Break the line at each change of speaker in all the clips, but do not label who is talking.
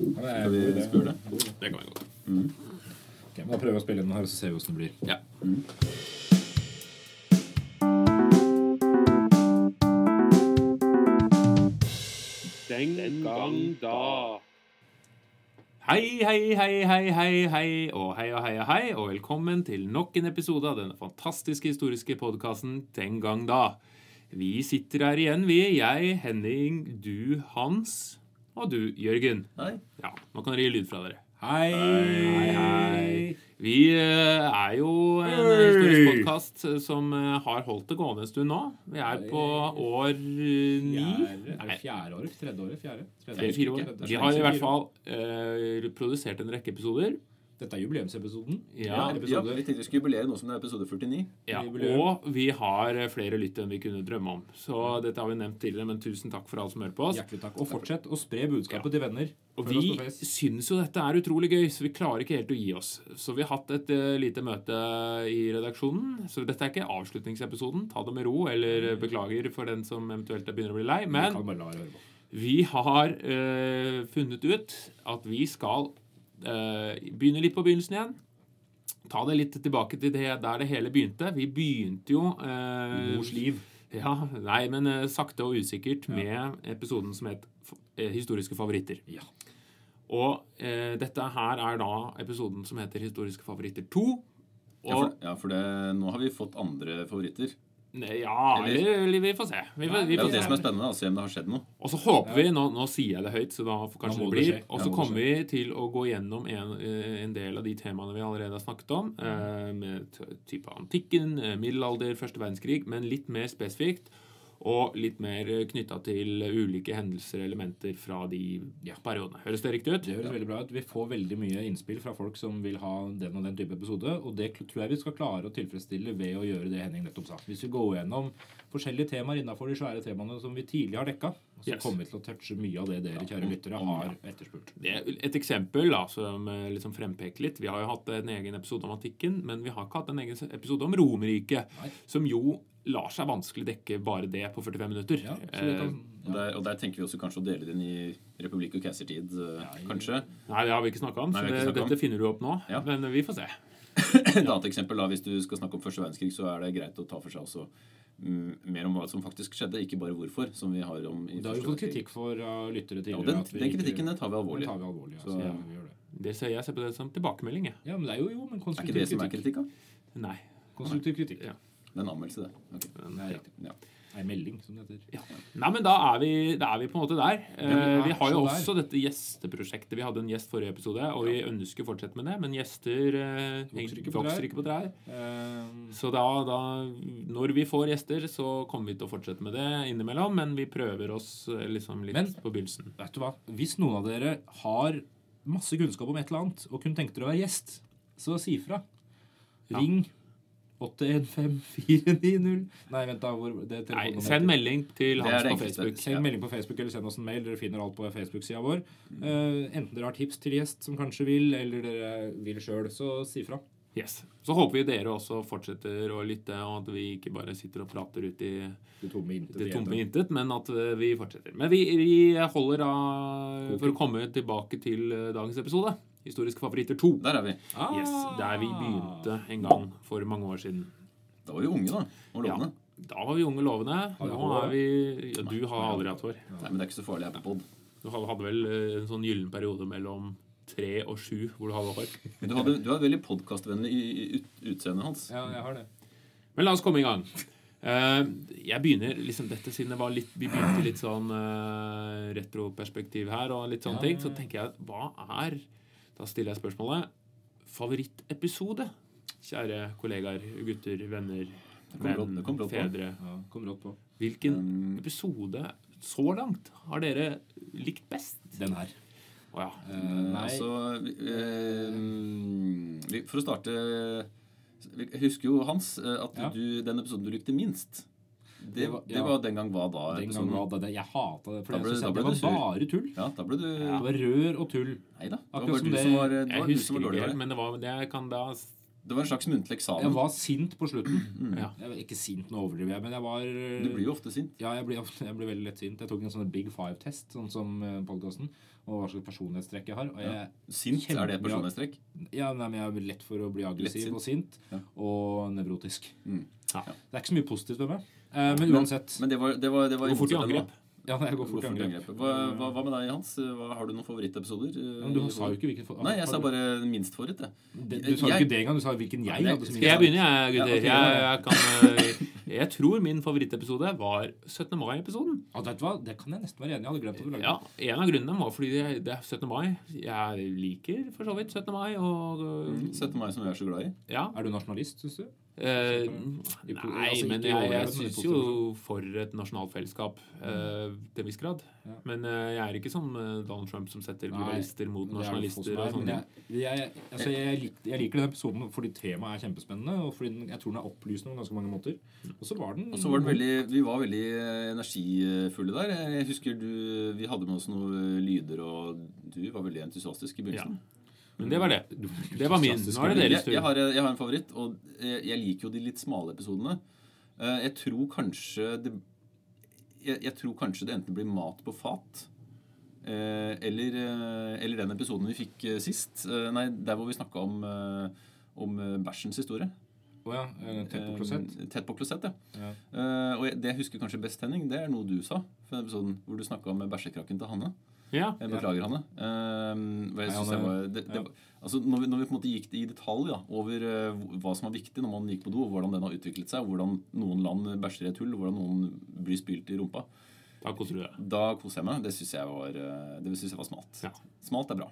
Skal vi spørre det?
Det kan vi godt.
Ok, men da prøver vi å spille den her, så ser vi hvordan det blir.
Ja.
Den gang da.
Hei, hei, hei, hei, hei, hei, og hei og hei og hei, og velkommen til nok en episode av denne fantastiske historiske podkasten Den gang da. Vi sitter her igjen, vi. Jeg, Henning, du, Hans, og du, Jørgen.
Hei.
Ja, Nå kan dere gi lyd fra dere.
Hei.
Vi eh, er jo en eh, historisk podkast som eh, har holdt det gående en stund nå. Vi er på år eh, ni.
Fjerde, er
Nei,
det fjerde året? Tredje året? Fjerde? Tredje
Tre, fire år.
Tredje-
Vi har i hvert fall eh, produsert en rekke episoder.
Dette er jubileumsepisoden.
Ja.
Ja,
episode.
vi tenkte vi skulle jubilere nå som det er episode 49.
Ja,
Jubileum.
og vi har eh, flere lytt enn vi kunne drømme om. Så dette har vi nevnt tidligere, men tusen takk for alle som hører på oss.
Hjertelig takk. Og fortsett å spre budskapet til venner.
Og
Følg
vi
oss på Face.
syns jo dette er utrolig gøy, så vi klarer ikke helt å gi oss. Så vi har hatt et eh, lite møte i redaksjonen. Så dette er ikke avslutningsepisoden. Ta det med ro, eller eh, beklager for den som eventuelt begynner å bli lei.
Mm. Vi
Men
kan bare la dere høre på.
vi har eh, funnet ut at vi skal eh, begynne litt på begynnelsen igjen. Ta det litt tilbake til det, der det hele begynte. Vi begynte jo eh,
Mors liv.
Ja, nei, men eh, sakte og usikkert med episoden som het F- eh, Historiske favoritter.
Ja.
Og eh, dette her er da episoden som heter Historiske favoritter 2.
Ja, for,
Og
ja, for det, nå har vi fått andre favoritter.
Nei, Ja,
Eller-
eller, eller vi får se. Vi, får-
Det
vi
er jo
får
det
se.
som er spennende, da, å se om det har skjedd noe.
Og så håper vi Nå, nå sier jeg det høyt, så da får
Da
kanskje det
må det
blir.
skje.
Og
Da
så
må det
kommer vi til å gå gjennom en, eh, en del av de temaene vi allerede har snakket om. eh, Med t- type antikken, eh, middelalder, første verdenskrig, men litt mer spesifikt. Og litt mer knytta til ulike hendelser og elementer fra de
Ja.
periodene. Høres det riktig ut?
Det høres veldig bra ut. Vi får veldig mye innspill fra folk som vil ha den og den type episode, og det kl- tror jeg vi skal klare å tilfredsstille ved å gjøre det Henning nettopp sa. Hvis vi går gjennom forskjellige temaer innafor de svære temaene som vi tidlig har dekka, så
Yes.
kommer vi til å touche mye av det dere, kjære lyttere, har etterspurt.
Det er et eksempel da, som eh, liksom frempeker litt. Vi har jo hatt en egen episode om antikken, men vi har ikke hatt en egen episode om Romerriket.
Nei.
Som jo lar seg vanskelig dekke bare det på 45 minutter. Eh,
Ja, så det kan,
Og der, og der tenker vi også kanskje å dele det inn i republikk og keisertid, eh, kanskje.
Eh, nei, det har vi ikke snakka om,
Nei,
så
vi har ikke
det,
snakket om.
dette finner du opp nå.
Ja.
Men vi får se.
Et annet eksempel, da, hvis du skal snakke om første verdenskrig, så er det greit å ta for seg også mm, mer om hva som faktisk skjedde, ikke bare hvorfor, som vi har om i
det har jo fått kritikk for av lyttere
Ja,
tidligere.
og den,
at vi
den
ikke-
kritikken den tar vi
den
alvorlig.
tar vi alvorlig. Ja, så
Så-
vi gjør det.
Det ser jeg ser på det som tilbakemelding. Jeg.
ja, men det er jo, jo men
Er ikke det
konstruktiv
som er
kritikk.
kritikk, da?
Nei.
Konstruktiv kritikk.
Ja.
Det er en anmeldelse, det. Ok.
Det er riktig.
Ja.
Nei, melding, som det heter.
Nei, men da er vi, da er vi på en måte der. Eh,
vi er
vi har
så
jo
der.
også dette gjesteprosjektet. Vi hadde en gjest forrige episode, og vi ønsker å fortsette med det, men gjester eh,
Vokser ikke på trær.
vokser ikke på trær.
Eh,
Så da, da, når vi får gjester, så kommer vi til å fortsette med det innimellom. Men vi prøver oss eh, liksom litt
Men-
på begynnelsen.
Vet du hva? Hvis noen av dere har masse kunnskap om et eller annet, og kunne tenkt dere å være gjest, så si fra.
Ja.
Ring 815490 Nei, vent, da. Hvor det
Nei,
telefonnummeret
send
heter.
melding til
Det er
Hans
det
på
enkleste.
Facebook.
Send melding på Facebook eller send oss en mail. Dere finner alt på Facebook-sida vår. Eh, enten dere har tips til gjest som kanskje vil, eller dere vil sjøl, så si fra.
Yes. Så håper vi dere også fortsetter å lytte, og at vi ikke bare sitter og prater ut i
Det tomme intet.
det tomme
igjen.
intet, men at eh, vi fortsetter. Men vi, vi holder da for å komme tilbake til eh, dagens episode. Historiske favoritter 2.
Der er vi.
Ah!
Yes, der vi begynte en gang for mange år siden.
Da var vi unge, da. Og
Ja,
lovende.
da var vi unge lovende.
du
Nå
hår?
er vi ja, Du har aldri hatt hår.
Nei, men det er ikke så farlig her på pod.
Du hadde, hadde vel eh, en sånn gyllen periode mellom tre og sju hvor du hadde hår.
Men Du, hadde, du er veldig podkastvennlig i, i ut, utseendet hans.
Ja, jeg har det.
Men la oss komme i gang. Eh, jeg begynner liksom dette siden det var litt, vi begynte litt sånn eh, retroperspektiv her, og litt sånne ting, så tenker jeg hva er Da stiller jeg spørsmålet favorittepisode? Kjære kollegaer, gutter, venner,
kom brått-
menn,
det Mm. kom brått på.
fedre.
Ja, kom rått på.
Hvilken episode så langt har dere likt best?
Den her.
Å ja.
Eh,
Eh,
nei,
altså, eh, vi- for å starte Jeg husker jo, Hans, eh, at
Ja.
du, den episoden du likte minst Det,
Det var-
det
ja.
var den gang hva da?
den
episoden.
gangen var det det. Jeg hata det. For
Da
jeg
ble-
synes
da
at
ble
det var
du sur.
bare tull.
Ja, da ble du
Det var rør og tull.
Nei da. Det var
Akkurat
bare
som
du
det-
som var, det
Jeg
var, du som
husker
var
ikke
dårlig.
helt,
var det.
men det var, jeg kan da s-
Det var en slags muntlig eksamen.
Jeg var sint på
Mm.
slutten.
Ja.
Jeg var ikke sint, nå overdriver jeg, men jeg var
Du blir jo ofte sint.
Ja, jeg blir, ofte- jeg blir veldig lett sint. Jeg tok en sånn Big Five-test, sånn som podkasten, og hva slags personlighetstrekk jeg har. Og jeg,
Sint,
Kjempe-
er det et personlighetstrekk?
ja, nei, men jeg er lett for å bli aggressiv
sint.
og sint, og nevrotisk.
Ja.
Det er ikke så mye positivt ved meg. Eh, men
Men-
uansett
Mm. Men det var, det var, det var
Gå fort i
motsetning, da.
angrep.
Ja, jeg går
Gå
fort i angrep.
Hva, hva, hva med deg, Hans? Hva, har du noen favorittepisoder? eh,
Men du
i
sa jo
år?
ikke hvilken for-
Nei, jeg sa bare minst forut, jeg.
Det- Du sa jo
Jeg-
ikke det engang. Du sa hvilken jeg
Nei,
hadde som
skal
Skal jeg begynne,
Ja,
jeg, gutter?
ok,
Jeg,
ja.
jeg, kan, øh, jeg tror min favorittepisode var 17. mai-episoden.
Ja, vet du hva? Det kan jeg nesten være enig i. Jeg hadde glemt at du lagde
Ja, En av grunnene var fordi det, det er 17. mai. Jeg liker for så vidt 17. mai. Og, øh,
17. mai, som vi er så glad i.
ja.
den. Er du nasjonalist, syns du?
Eh,
I po-
nei,
altså,
men
ikke i overhevet,
jeg, jeg
men i
syns jo
positivisme.
for et nasjonalfellesskap eh, til en viss grad.
Ja.
Men eh, jeg er ikke som eh, Donald Trump som setter
Nei,
globalister mot
Det er det få som
nasjonalister.
er, men
og sånne ting.
jeg, jeg, altså, jeg, lik- jeg liker den episoden fordi temaet er kjempespennende, og fordi den, jeg tror den er opplysende på ganske mange måter. Og så var den,
Og så var den veldig, Vi var veldig eh, energifulle der. Jeg husker du, Vi hadde med oss noen eh, lyder, og du var veldig entusiastisk i begynnelsen.
Men det var det. Det var min. Nå er det
Jeg,
deres tur.
jeg, har, jeg har en favoritt, og jeg, jeg liker jo de litt smale episodene. Eh, Jeg tror kanskje det jeg, jeg tror kanskje det enten blir Mat på fat eh, eller, eh, eller den episoden vi fikk eh, sist. Eh, Nei, der hvor vi snakka om, eh, om eh, bæsjens historie.
Å ja, eh, tett på klosett.
Eh, Tett på klosett, ja.
Ja.
Eh, og jeg, det jeg husker kanskje best, Henning, det er noe du sa. For den episoden Hvor du snakka med bæsjekrakken til Hanne.
Ja.
Jeg beklager, Hanne. Eh, og
Nei,
jeg synes jeg
Hanne,
var, det, det,
ja.
var- altså, når, vi, når vi på en måte gikk i detalj da, over eh, hv- hva som var viktig når man gikk på do, og hvordan den har utviklet seg, og hvordan noen land bæsjer i et hull, og hvordan noen blir spylt i rumpa,
Da koser du deg.
da koser jeg meg. Det syns jeg, var, eh, det synes jeg var smalt.
Ja.
Smalt er bra.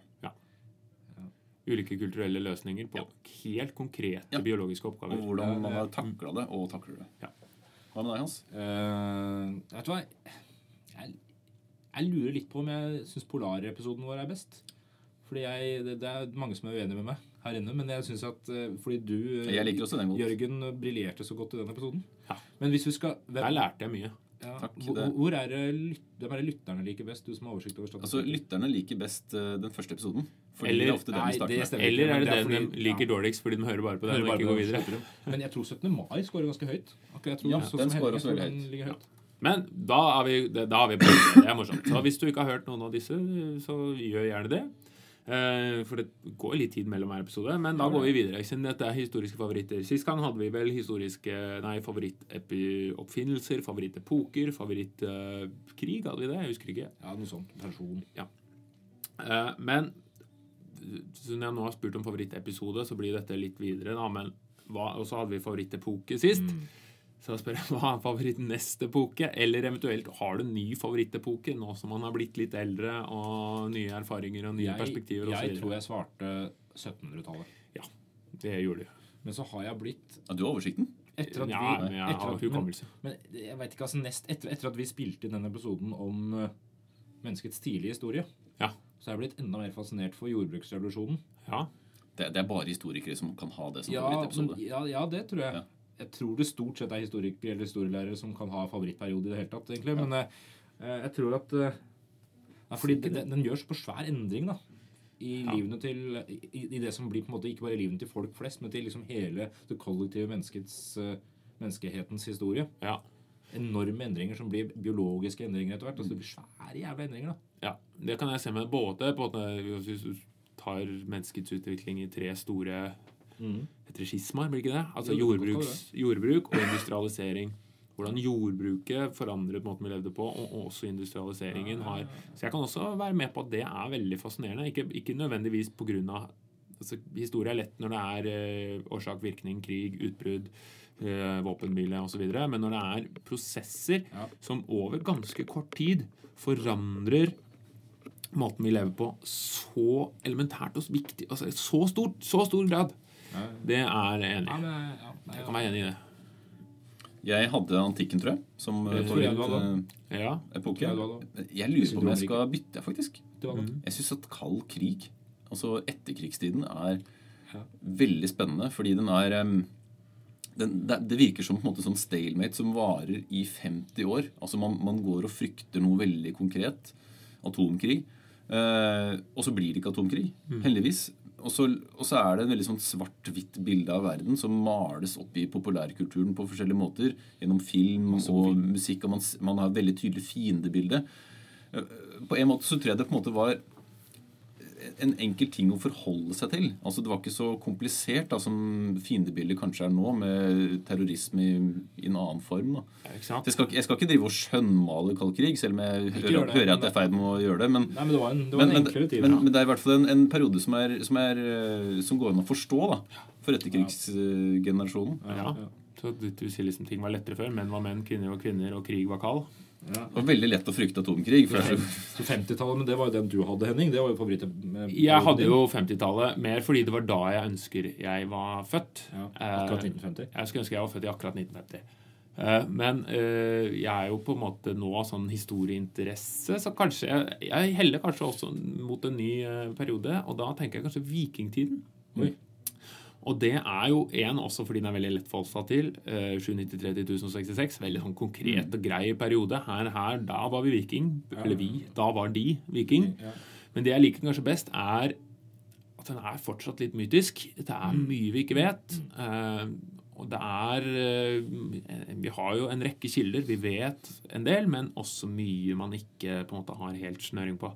Ulike kulturelle løsninger på helt konkrete
Ja.
biologiske
Og
oppgaver.
hvordan
Ja,
man
ja.
har takla det, og takler det.
Ja.
Hva med deg, Hans?
Eh, vet du hva? Jeg, jeg lurer litt på om jeg syns Polarepisoden vår er best. Fordi jeg, det, det er mange som er uenige med meg her inne, men jeg synes at eh, fordi du eh,
Jeg liker også den godt.
Jørgen eh, briljerte så godt i den episoden.
Ja.
Men hvis vi skal hvem,
Der lærte jeg mye.
ja,
Takk,
hvor,
det-
hvor er det, lyt- hvem er det lytterne liker best? Du som har oversikt over
Altså,
statistikken.
Lytterne liker best eh, den første episoden. Fordi
Eller-
det er ofte den
nei,
vi starter
det
med.
stemmer.
Eller er det,
Det er
den de
fordi-
liker
ja.
dårligst fordi de hører bare på den
Hører
og
bare
ikke
på
går
den,
videre?
slutter dem. Men jeg tror 17. mai scorer ganske høyt. Akkurat, jeg tror,
Ja,
sånn som
den
Henrik,
scorer
jeg tror
også veldig
den
høyt.
ligger høyt.
Men da er vi, det, da er vi på det. Det er morsomt. Så hvis du ikke har hørt noen av disse, så gjør gjerne det. Eh, for det går litt tid mellom hver episode. Men da går vi videre. Siden dette er historiske favoritter. Sist gang hadde vi vel historiske Nei, favorittoppfinnelser, favorittepoker, favorittkrig. eh, hadde vi det? Jeg husker ikke.
Ja, noe sånt. Person.
Eh, men siden jeg nå har spurt om favorittepisode, så blir dette litt videre, da. Men hva, og så hadde vi favorittepoke sist.
Mm.
Så da spør jeg hva er favoritt-nestepoke? Eller eventuelt har du en ny favorittepoke nå som man har blitt litt eldre og nye erfaringer og nye
Jeg,
perspektiver
jeg
osv.?
tror jeg svarte 1700-tallet.
Ja, det gjorde du.
Men så har jeg blitt
Ja, du har oversikten?
Etter at
Ja,
vi,
men jeg
etter
har
at, men,
hukommelse.
men jeg vet ikke, altså nest, etter, etter at vi spilte inn den episoden om eh, menneskets tidlige historie,
Ja.
så er jeg blitt enda mer fascinert for jordbruksrevolusjonen.
ja.
Det, det er bare historikere som kan ha det som
Ja, men,
favorittepisode.
ja, ja, det tror jeg.
Ja.
Jeg tror det stort sett er historikere eller historielærere som kan ha favorittperiode i det hele tatt, egentlig. Men eh, eh, jeg tror at eh, Nei, fordi den, den gjør så på svær endring, da. I livene til i, i- I det som blir på en måte ikke bare livene til folk flest, men til liksom hele det kollektive menneskets eh, menneskehetens historie.
ja.
enorme endringer som blir biologiske endringer etter hvert. Altså det blir svære jævla endringer, da.
Ja, det kan jeg se med både på at hvis du tar menneskets utvikling i tre store heter det skismaer, blir det ikke det? Altså
Mm. Jo, det kan
jordbruks, jordbruk og industrialisering. Hvordan jordbruket forandret måten vi levde på, og og også industrialiseringen har Så jeg kan også være med på at det er veldig fascinerende. Ikke, ikke nødvendigvis på grunn av altså, Historie er lett når det er eh, årsak, virkning, krig, utbrudd, eh, våpenhvile osv. Men når det er prosesser
Ja.
som over ganske kort tid forandrer måten vi lever på, så elementært og så viktig altså, i så, stort, så stor grad. Det er jeg enig. i. Jeg kan være enig i det.
Jeg hadde antikken, tror jeg, som eh,
Det
tror jeg du
favorittepoke.
Ja.
Tror jeg du hadde
eh, Jeg lurer på om jeg
Syndromer.
skal bytte, faktisk.
Det var godt.
Jeg syns at kald krig, altså etterkrigstiden, er veldig spennende fordi den er em, den, det, det virker som på en måte som stalemate som varer i 50 år. Altså Man, man går og frykter noe veldig konkret. Atomkrig. Eh, og så blir det ikke atomkrig, heldigvis. og så, og så er det en veldig sånn svart-hvitt bilde av verden som males opp i populærkulturen på forskjellige måter. Gjennom film og musikk. Og man, s- man har et veldig tydelig fiendebilde. Eh, På en måte så tror jeg det på en måte var en enkel ting å forholde seg til. Altså Det var ikke så komplisert da, som fiendebildet kanskje er nå, med terrorisme i, i en annen form. da.
Ja, ikke sant?
Jeg skal, ikke- jeg skal ikke drive og skjønnmale kald krig, selv om jeg hører,
gjør det.
hører at jeg er i ferd med å gjøre det. men
Nei, men det var en, det var
men,
en
men,
enklere tid.
men,
ja.
men det er i hvert fall en, en periode som, er, som, er, eh, som går an å forstå da, for etterkrigsgenerasjonen.
Ja. Så du, du sier liksom ting var lettere før. Menn var menn, kvinner var kvinner, og krig var kald.
Det var veldig lett å frykte atomkrig. For det er så,
Så 50-tallet, men det var jo den du hadde, Henning. Det var jo favoritt. eh,
Jeg hadde jo 50-tallet mer fordi det var da jeg ønsker jeg var født.
ja,
Eh,
Akkurat 1950.
Jeg skulle ønske jeg var født i akkurat 1950. Eh, Men eh, jeg er jo på en måte nå sånn historieinteresse, så kanskje jeg, jeg heller kanskje også mot en ny eh, periode. Og da tenker jeg kanskje vikingtiden. Mm.
Oi.
Og det er jo en også fordi den er veldig lett forholdt seg til. eh, 793 til 1066. Veldig sånn
Mm.
konkret og grei periode. Her, her, da var vi viking. Eller vi. Da var de viking.
Ja.
Men det jeg liker den kanskje best, er at den er fortsatt litt mytisk. Det er
Mm.
mye vi ikke vet. eh, og det er eh, Vi har jo en rekke kilder. Vi vet en del, men også mye man ikke på en måte har helt snøring på.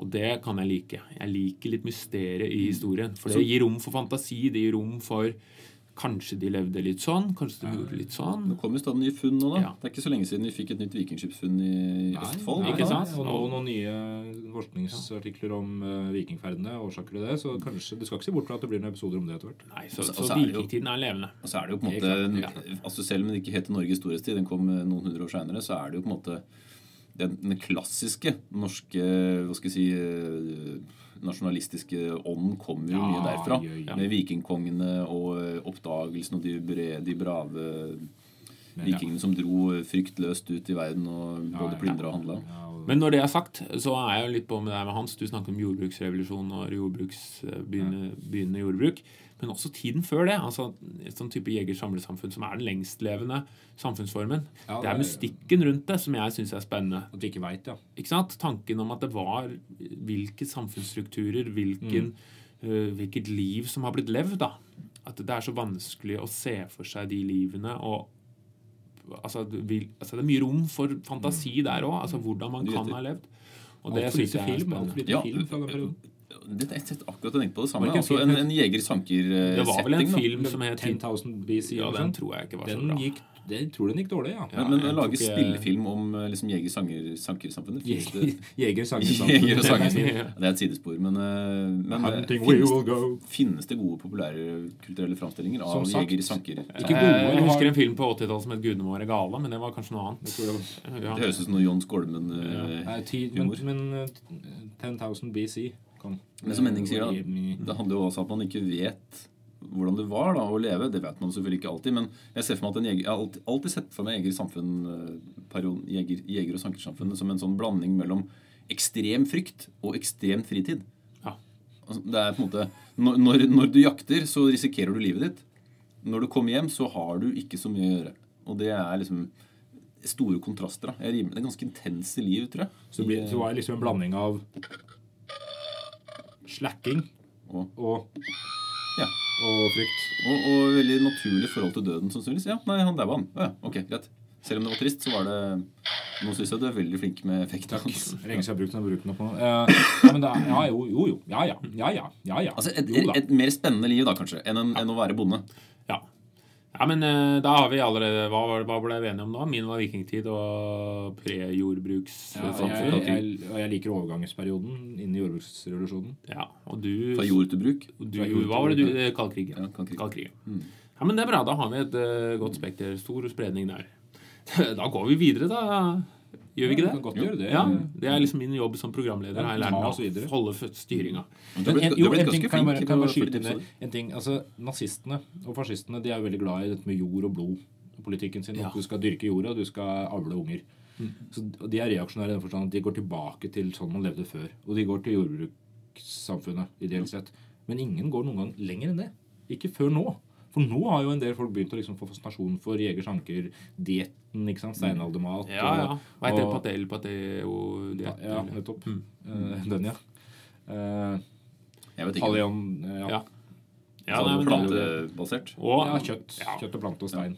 Og det kan jeg like. Jeg liker litt mysteriet
Mm.
i historien. For det gir rom for fantasi. Det gir rom for Kanskje de levde litt sånn, kanskje de gjorde litt sånn.
det kom jo stadig nye funn nå, da.
Ja.
Det er ikke så lenge siden vi fikk et nytt vikingskipsfunn i Østfold.
Nei,
var det
ikke
da?
sant?
Og nå noen nye forskningsartikler om eh, vikingferdene og årsaker til det. Så kanskje, du skal ikke se bort fra at det blir noen episoder om det etter hvert.
Nei, så,
Og så-
så
og så er det jo-
vikingtiden er levende.
Og så er det jo på en
Helt
måte
klart,
altså Selv om det ikke heter Norges storhetstid, den kom eh, noen hundre år seinere, så er det jo på en måte den, den klassiske norske hva skal jeg si, eh, nasjonalistiske ånden kommer jo mye
Ja,
derfra.
ja, ja.
Med vikingkongene og eh, oppdagelsen og de, bre, de brave vikingene som dro eh, fryktløst ut i verden og
ja,
både
ja.
plyndra og handla.
Ja, og-
Men når det er sagt, så er jeg jo litt på med deg med Hans. Du snakket om jordbruksrevolusjonen og jordbruks- begynnende begynnende jordbruk. Men også tiden før det. altså Et sånn type jeger-samlesamfunn som er den lengstlevende samfunnsformen.
Ja,
det er
det
mystikken rundt det som jeg syns er spennende.
At vi ikke veit, ja.
Ikke sant? Tanken om at det var hvilke samfunnsstrukturer,
Mm.
hvilken, øh, hvilket liv som har blitt levd. da. At det er så vanskelig å se for seg de livene. og altså, du vil, altså Det er mye rom for fantasi
Mm.
der òg. Altså, hvordan man
Du vet
kan
det.
ha levd. Og det
Altfor
syns
lite
jeg er
film. Alt for
spennende.
lite
Ja.
film fra den perioden.
Det er et- akkurat jeg tenkte på det samme.
Var det ikke
Altså
en
en,
film-
en eh, jeger-sanker-setting.
Det var vel en film som het
10,000 BC.
Ja,
eller
den
sånn.
tror jeg ikke var så
den
bra.
gikk, jeg tror den gikk dårlig, ja.
Men, men
jeg
å lage
tok ikke-
spillefilm om eh, liksom, jeger-sanker-samfunnet finnes det-
Jeger sånn.
Jeger og sangersen.
Ja.
Det er et sidespor, men, eh, men eh,
Hunting we will
finnes, det,
go.
finnes det gode populære kulturelle framstillinger
Som
av
sagt.
jeger-sanker?
Ikke
Eh,
gode,
Jeg
du har-
husker en film på 80-tallet som het 'Gudene våre gale', men det var kanskje noe annet. Ja.
Det høres ut som noe John Skolmen eh,
Nei, ti, men,
Humor.
men eh, 10,000 BC kom.
Men som Henning sier,
Det var i-
da. Det handler jo også om at man ikke vet hvordan det var da, å leve. Det vet man selvfølgelig ikke alltid, men jeg ser for meg at en jeger, jeg har alltid, alltid sett for meg jeger-samfunn-perioden, eh, jeger, jeger- og sankersamfunnet som en sånn blanding mellom ekstrem frykt og ekstrem fritid.
Ja.
Altså, Det er på en måte, når, når, når du jakter, så risikerer du livet ditt. Når du kommer hjem, så har du ikke så mye å gjøre. Og det er liksom store kontraster. da. Jeg rimer, det er ganske intense liv, tror jeg.
Så det, blir, så det var liksom en blanding av slacking
Og-
og,
Ja.
og frykt.
Og, og veldig naturlig forhold til døden, sannsynligvis. Ja, nei, han daua, han. Å Ja, ok, greit. Selv om det var trist, så var det Nå syns jeg du er veldig flink med effekten
Takk.
hans.
Det er Lenge siden jeg har brukt den. jeg har brukt den opp nå. Eh, ja, men det er, ja, jo, jo, jo. Ja, ja. Ja, ja. ja, ja.
Altså, et,
jo, da.
et mer spennende liv, da, kanskje, enn, en, enn å være bonde.
Ja. ja, men eh, da har vi allerede Hva, var- hva ble vi enige om da? Min var vikingtid og
Ja,
prejordbrukssamfunn.
jeg,
Ja,
jeg, og jeg liker overgangsperioden inn i jordbruksrevolusjonen.
og du,
Fra jord til bruk.
du Hva var det du eh, Kaldkrigen.
Ja, kan ikke-
Kaldkrigen. Ja, men det er bra. Da har vi et eh, godt spekter. Stor spredning der. da går vi videre, da. Gjør vi ikke
Ja, kan
det?
godt gjøre det.
Ja, Det er liksom min jobb som programleder. Har jeg lært
ta
meg
oss videre.
å holde styringa.
Men
Du har
en,
blitt, du
jo,
har blitt
en ting
ganske
kan jeg bare,
flink
kan jeg bare
til å
skyte inn der.
episoder.
En ting, altså, Nazistene og fascistene de er jo veldig glad i dette med jord og blod. og Politikken sin,
Ja.
At du skal dyrke jorda, og du skal avle unger.
Mm.
Så og De er reaksjonære i den forstand at de går tilbake til sånn man levde før. Og de går til jordbrukssamfunnet, ideelt sett. Men ingen går noen gang lenger enn det. Ikke før nå. For nå har jo en del folk begynt å liksom få fascinasjon for jeger, sanker, dietten, ikke sant?
Mm.
steinaldermat.
Ja, ja.
og-
Hva heter det?
og-
Patel, patel, og det
Mm.
Ja, nettopp. Eh, Den, ja. Eh,
Jeg vet ikke.
Talion eh, ja.
Ja.
Ja,
Ja, nei, men det,
Plantebasert.
og,
ja, kjøtt.
Ja.
Kjøtt og plante og stein.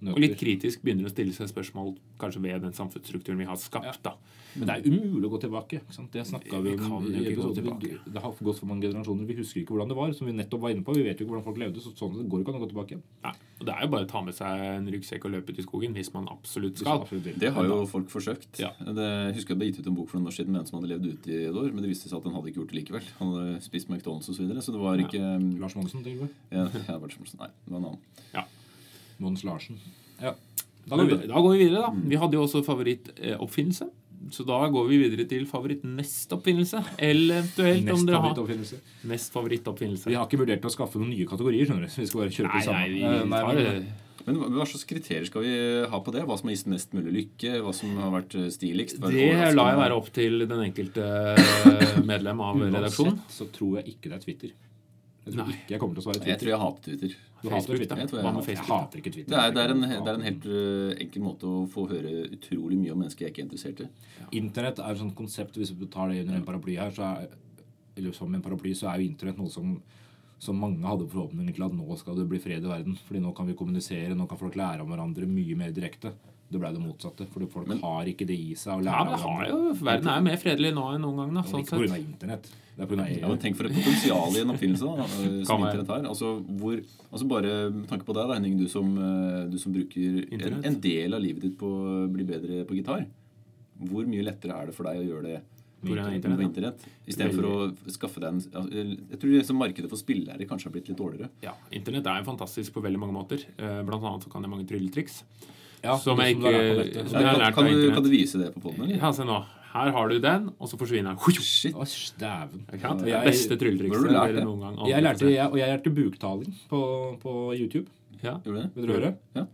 og litt kritisk begynner å stille seg spørsmål kanskje ved den samfunnsstrukturen vi har skapt. da.
Men det er umulig å gå tilbake. Ikke sant? Det snakka vi
Vi kan
om.
jo
i
ikke gå
episoden.
tilbake.
Vi- Det har gått for mange generasjoner. Vi husker ikke hvordan det var. Som vi nettopp var inne på. Vi vet jo ikke hvordan folk levde. Så sånn sett går det ikke an å gå tilbake igjen.
Nei. Og Det er jo bare å ta med seg en ryggsekk og løpe ut i skogen hvis man absolutt
Hvis
skal.
man absolutt vil.
Det har jo folk forsøkt.
Ja.
Det, jeg husker jeg ble gitt ut en bok for noen år siden med en som hadde levd ute i et år, men det viste seg at han hadde ikke gjort det likevel. Han hadde spist McDonald's og så videre, så det var ikke ja,
Lars Monsen, tenker du?
jeg hadde vært som, Nei, det var en annen.
Mons Larsen. Ja. Da Mm.
Da
går
går,
vi
vi,
videre.
da går vi videre, da. Vi hadde jo også favorittoppfinnelse. Så da går vi videre til favorittmestoppfinnelse. Eventuelt om
Nest
dere har
favorittoppfinnelse.
mest
Vi
favorittoppfinnelse.
har ikke vurdert å skaffe noen nye kategorier, skjønner du. Så vi skal bare kjøre
Nei,
på samme.
nei, vi
Eh, nei,
tar
men-
det.
Men hva- hva slags kriterier skal vi eh, ha på det? Hva som har gitt mest mulig lykke? Hva som har vært eh, stiligst? altså, vært
Det
overraskende?
lar jeg være opp til den enkelte medlem av redaksjonen.
Uansett så tror jeg ikke det er Twitter. Jeg tror
Nei.
ikke jeg kommer til å svare
Jeg
Twitter.
tror jeg hater Twitter.
Du hater
Facebook,
Twitter.
da.
Jeg tror jeg
Hva med
hater-
Jeg
Facebook?
hater ikke Twitter.
Det er, det, er en, det er en helt eh, enkel måte å få høre utrolig mye om mennesker jeg ikke er interessert i.
Internett er et sånt konsept Hvis du tar det under en paraply her så er, Eller som en paraply Så er jo internett noe som som mange hadde forhåpninger til at nå skal det bli fred i verden. Fordi nå kan vi kommunisere, nå kan folk lære om hverandre mye mer direkte. Det ble det motsatte. Fordi folk har ikke det i seg å
Ja,
lære
men det
av
har
hverandre.
jo, verden er jo mer fredelig nå enn noen gang. Da,
Men
sånn
Ikke på grunn
sett.
av internett. Det er på grunn av E
Ja,
EU.
men Tenk for et potensial i en oppfinnelse da, eh, som
Kan være.
Internett har. Altså, hvor, altså bare med tanke på deg, da, Henning, du som, eh, du som bruker en,
Internett.
en del av livet ditt på å bli bedre på gitar. Hvor mye lettere er det for deg å gjøre det
På grunn av
på
internett,
internett? Istedenfor å skaffe deg en altså, Jeg tror liksom markedet for spillere kanskje har blitt litt dårligere.
Ja, Internett er fantastisk på veldig mange måter. Eh, Blant annet så kan jeg mange trylletriks.
Ja,
som
det sånn
jeg
du har lært på
ikke-
nettet.
Som jeg har
kan,
lært
kan,
av
du,
internett.
kan du vise det på poden, eller?
Ja, se nå. Her har du den, og så forsvinner den.
Shit.
Å, dæven.
Ikke sant? Det
Jeg-
er beste
Hvor
trylletrikset
har du lært
dere
det?
noen gang.
Jeg lærte, jeg, og jeg lærte buktaling på, på YouTube.
ja.
Gjorde du det?
Vil dere høre?
Ja.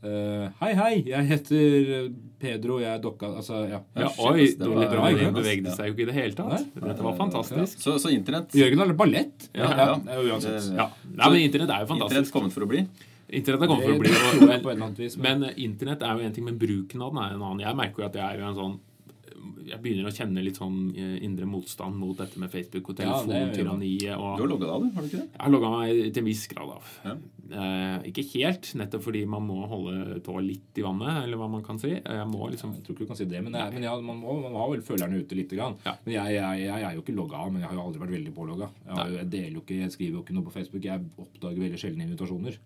Eh, hei, hei! Jeg heter eh, Pedro, jeg er dokka Altså, ja.
Ja,
shit,
oi,
ass, det var-
bra,
det
ikke?
bevegde seg jo ikke i det hele tatt. Dette var fantastisk.
Så, så Internett
Jørgen har ballett.
Ja,
ja.
ja.
ja, Uansett.
Eh,
Ja, Nei, men Internett er jo
Internett
fantastisk.
kommet for å bli.
Internett er kommet for å bli.
Det tror jeg
og-
på en eller annen vis, men-
Men eh, Internett er jo en ting, men bruken av den er en annen. Jeg merker jo at jeg er jo en sånn jeg begynner å kjenne litt sånn eh, indre motstand mot dette med Facebook og
Ja, det gjør man.
telefontyranniet. og...
Du har logga deg av, du? Har du ikke det?
Jeg har logga meg til en viss grad av. Eh, ikke helt, nettopp fordi man må holde tåa litt i vannet, eller hva man kan si. Jeg må liksom
Jeg tror ikke du kan si det, men, det er, men ja, man, må, man har vel følerne ute lite grann.
Ja.
Men jeg, jeg, jeg er jo ikke logga av, men jeg har jo aldri vært veldig pålogga. Jeg, har jo- jeg deler jo ikke, jeg skriver jo ikke noe på Facebook. Jeg oppdager veldig sjelden invitasjoner.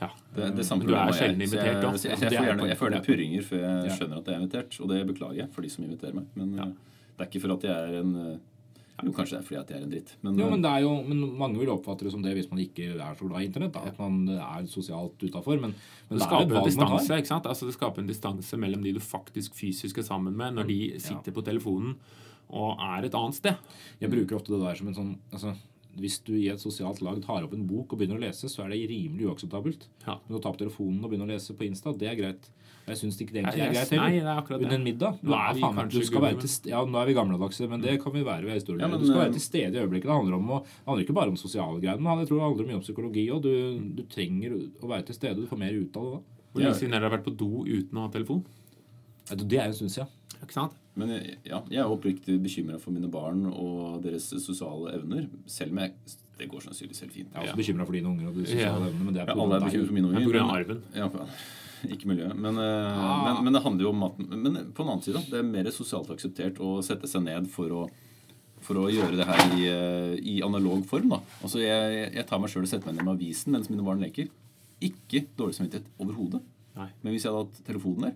Ja.
Det, det samme
Men du er
problemet har jeg,
sjelden
så
invitert, da.
Jeg, så jeg,
Ja, det
jeg, får
er
gjerne, jeg
poenget.
føler purringer før jeg
Ja.
skjønner at jeg er invitert. Og det beklager jeg for de som inviterer meg. Men eh, det er ikke for at jeg er en eh, Jo, kanskje det er fordi at jeg er en dritt. Men,
Jo, men,
eh,
det er jo, men mange vil oppfatte det som det hvis man ikke er så glad i internett. Da. At man er sosialt utafor. Men, men det er
Det
et
skaper en
valg man tar.
distanse ikke sant? Altså, det skaper en distanse mellom de du faktisk fysisk er sammen med, når de sitter på telefonen og er et annet sted.
Jeg bruker ofte det der som en sånn altså, Hvis du i et sosialt lag tar opp en bok og begynner å lese, så er det rimelig uakseptabelt.
Ja.
Men å ta opp telefonen og begynne å lese på Insta, det er greit. Og jeg syns ikke det egentlig
Nei,
er
jeg-
greit heller.
nei, det er akkurat det.
Under en middag.
Nå er
Nei,
vi
faen,
kanskje
du skal være
gule, Mm.
til st- ja, nå er vi gammeldagse, men det kan vi være ved historien.
Ja, men,
du skal
eh,
være til stede i øyeblikket. Det handler om å, det handler ikke bare om sosiale greier, men jeg tror det handler mye om psykologi òg. Du, du trenger å være til stede. Du får mer ut av det da.
Hvor lenge siden har dere vært på do uten å ha telefon?
Vet du, Det er jo en stund siden.
Ikke sant?
eh, men jeg- ja, jeg er oppriktig bekymra for mine barn og deres sosiale evner. Selv om jeg Det går sannsynligvis helt fint.
Jeg er
Ja,
også bekymra for dine unger og de
Ja.
sosiale evnene, men det er på grunn
alle
av
er
deg.
bekymret for mine
Det er på grunn av
unger.
arven. Ah.
men- Ja, for- ikke miljøet. Men, eh, men, men det handler jo om maten. Men på den annen side, det er mer sosialt akseptert å sette seg ned for å for å gjøre det her i, eh, i analog form. da. Altså, Jeg, jeg tar meg sjøl og setter meg ned med avisen mens mine barn leker. Ikke dårlig samvittighet overhodet.
Nei.
Men hvis jeg hadde hatt telefonen der,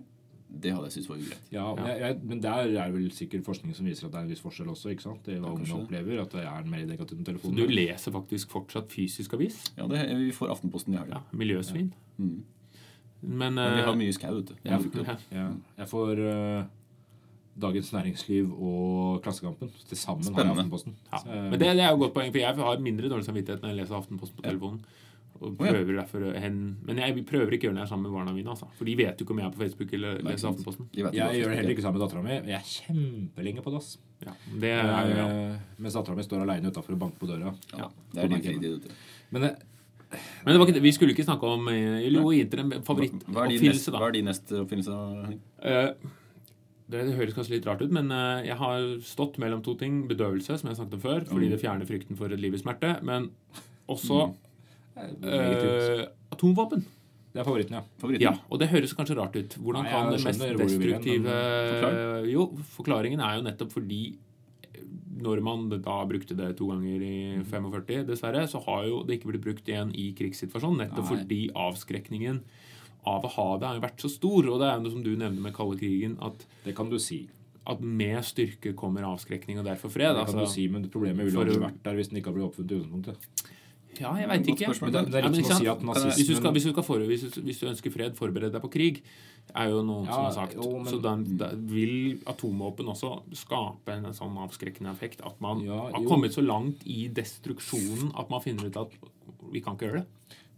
det hadde jeg syntes var ugreit.
Ja, men, jeg, jeg, men der er vel sikkert forskning som viser at det er en viss forskjell også. ikke sant? Det hva ungene opplever, at det er mer negativt med
Du
telefonen.
leser faktisk fortsatt fysisk avis.
Ja, det, Vi får Aftenposten i helga.
Ja, Miljøsvin. Men,
Men Vi
eh,
har mye skau, vet du. Jeg bruker det.
ja.
Ja, jeg får eh, Dagens Næringsliv og Klassekampen til sammen har jeg
Spennende.
Aftenposten.
Ja.
Eh,
Men det, det er jo et godt poeng, for jeg har mindre dårlig samvittighet når jeg leser Aftenposten på telefonen. Og
ja.
prøver derfor å hen, men jeg prøver ikke å gjøre det sammen med barna mine. Altså. For de vet jo ikke om jeg er på Facebook eller leser Aftenposten.
De vet jo
jeg gjør
hva
det
som
heller
skjer.
ikke sammen med dattera mi. Jeg er kjempelenge på dass.
Ja, det er jo ja.
Eh, Mens dattera mi står aleine utafor og banker på døra.
Ja, det er din fritid. vet du.
Men
eh,
det,
Men det var ikke, det- vi skulle ikke snakke om eh, Jo, internett.
Hva er de
Favorittoppfinnelse,
neste, hva
da.
er de neste oppfinnelser? Henning?
Eh, det høres kanskje litt rart ut, men eh, jeg har stått mellom to ting. Bedøvelse, som jeg snakket om før, fordi det fjerner frykten for et liv i smerte. Men også
Mm. Legitimt.
eh, atomvåpen.
Det er favoritten, ja.
Favoritten.
Ja, Og det høres kanskje rart ut. Hvordan
Nei,
kan
jeg
det mest
skjønner hvor du vil hen,
destruktive
men
forklar.
Eh, Jo, forklaringen er jo nettopp fordi eh, når man da brukte det to ganger i
Mm.
45, dessverre, så har jo det ikke blitt brukt igjen i krigssituasjon. Nettopp
Nei.
fordi avskrekningen av å ha det har jo vært så stor. Og det er jo det som du nevner med kalde krigen, at,
Det kan du si.
at med styrke kommer avskrekning, og derfor fred.
Det kan
Altså.
du si, men problemet ville
For
aldri
å-
vært der hvis den ikke hadde blitt oppfunnet i utgangspunktet.
Ja, jeg veit
Godt
ikke.
spørsmål.
Men det, det er
Ja, men
litt
ikke
som å si at
sant?
jeg-
nazismen
Hvis du, skal, hvis, du skal forbe- hvis, du, hvis du ønsker fred, forbered deg på krig, er jo noe som
Ja,
har sagt.
jo, men-
Så da, da vil atomvåpen også skape en sånn avskrekkende effekt. At man
Ja,
har
jo.
kommet så langt i destruksjonen at man finner ut at vi kan ikke gjøre det.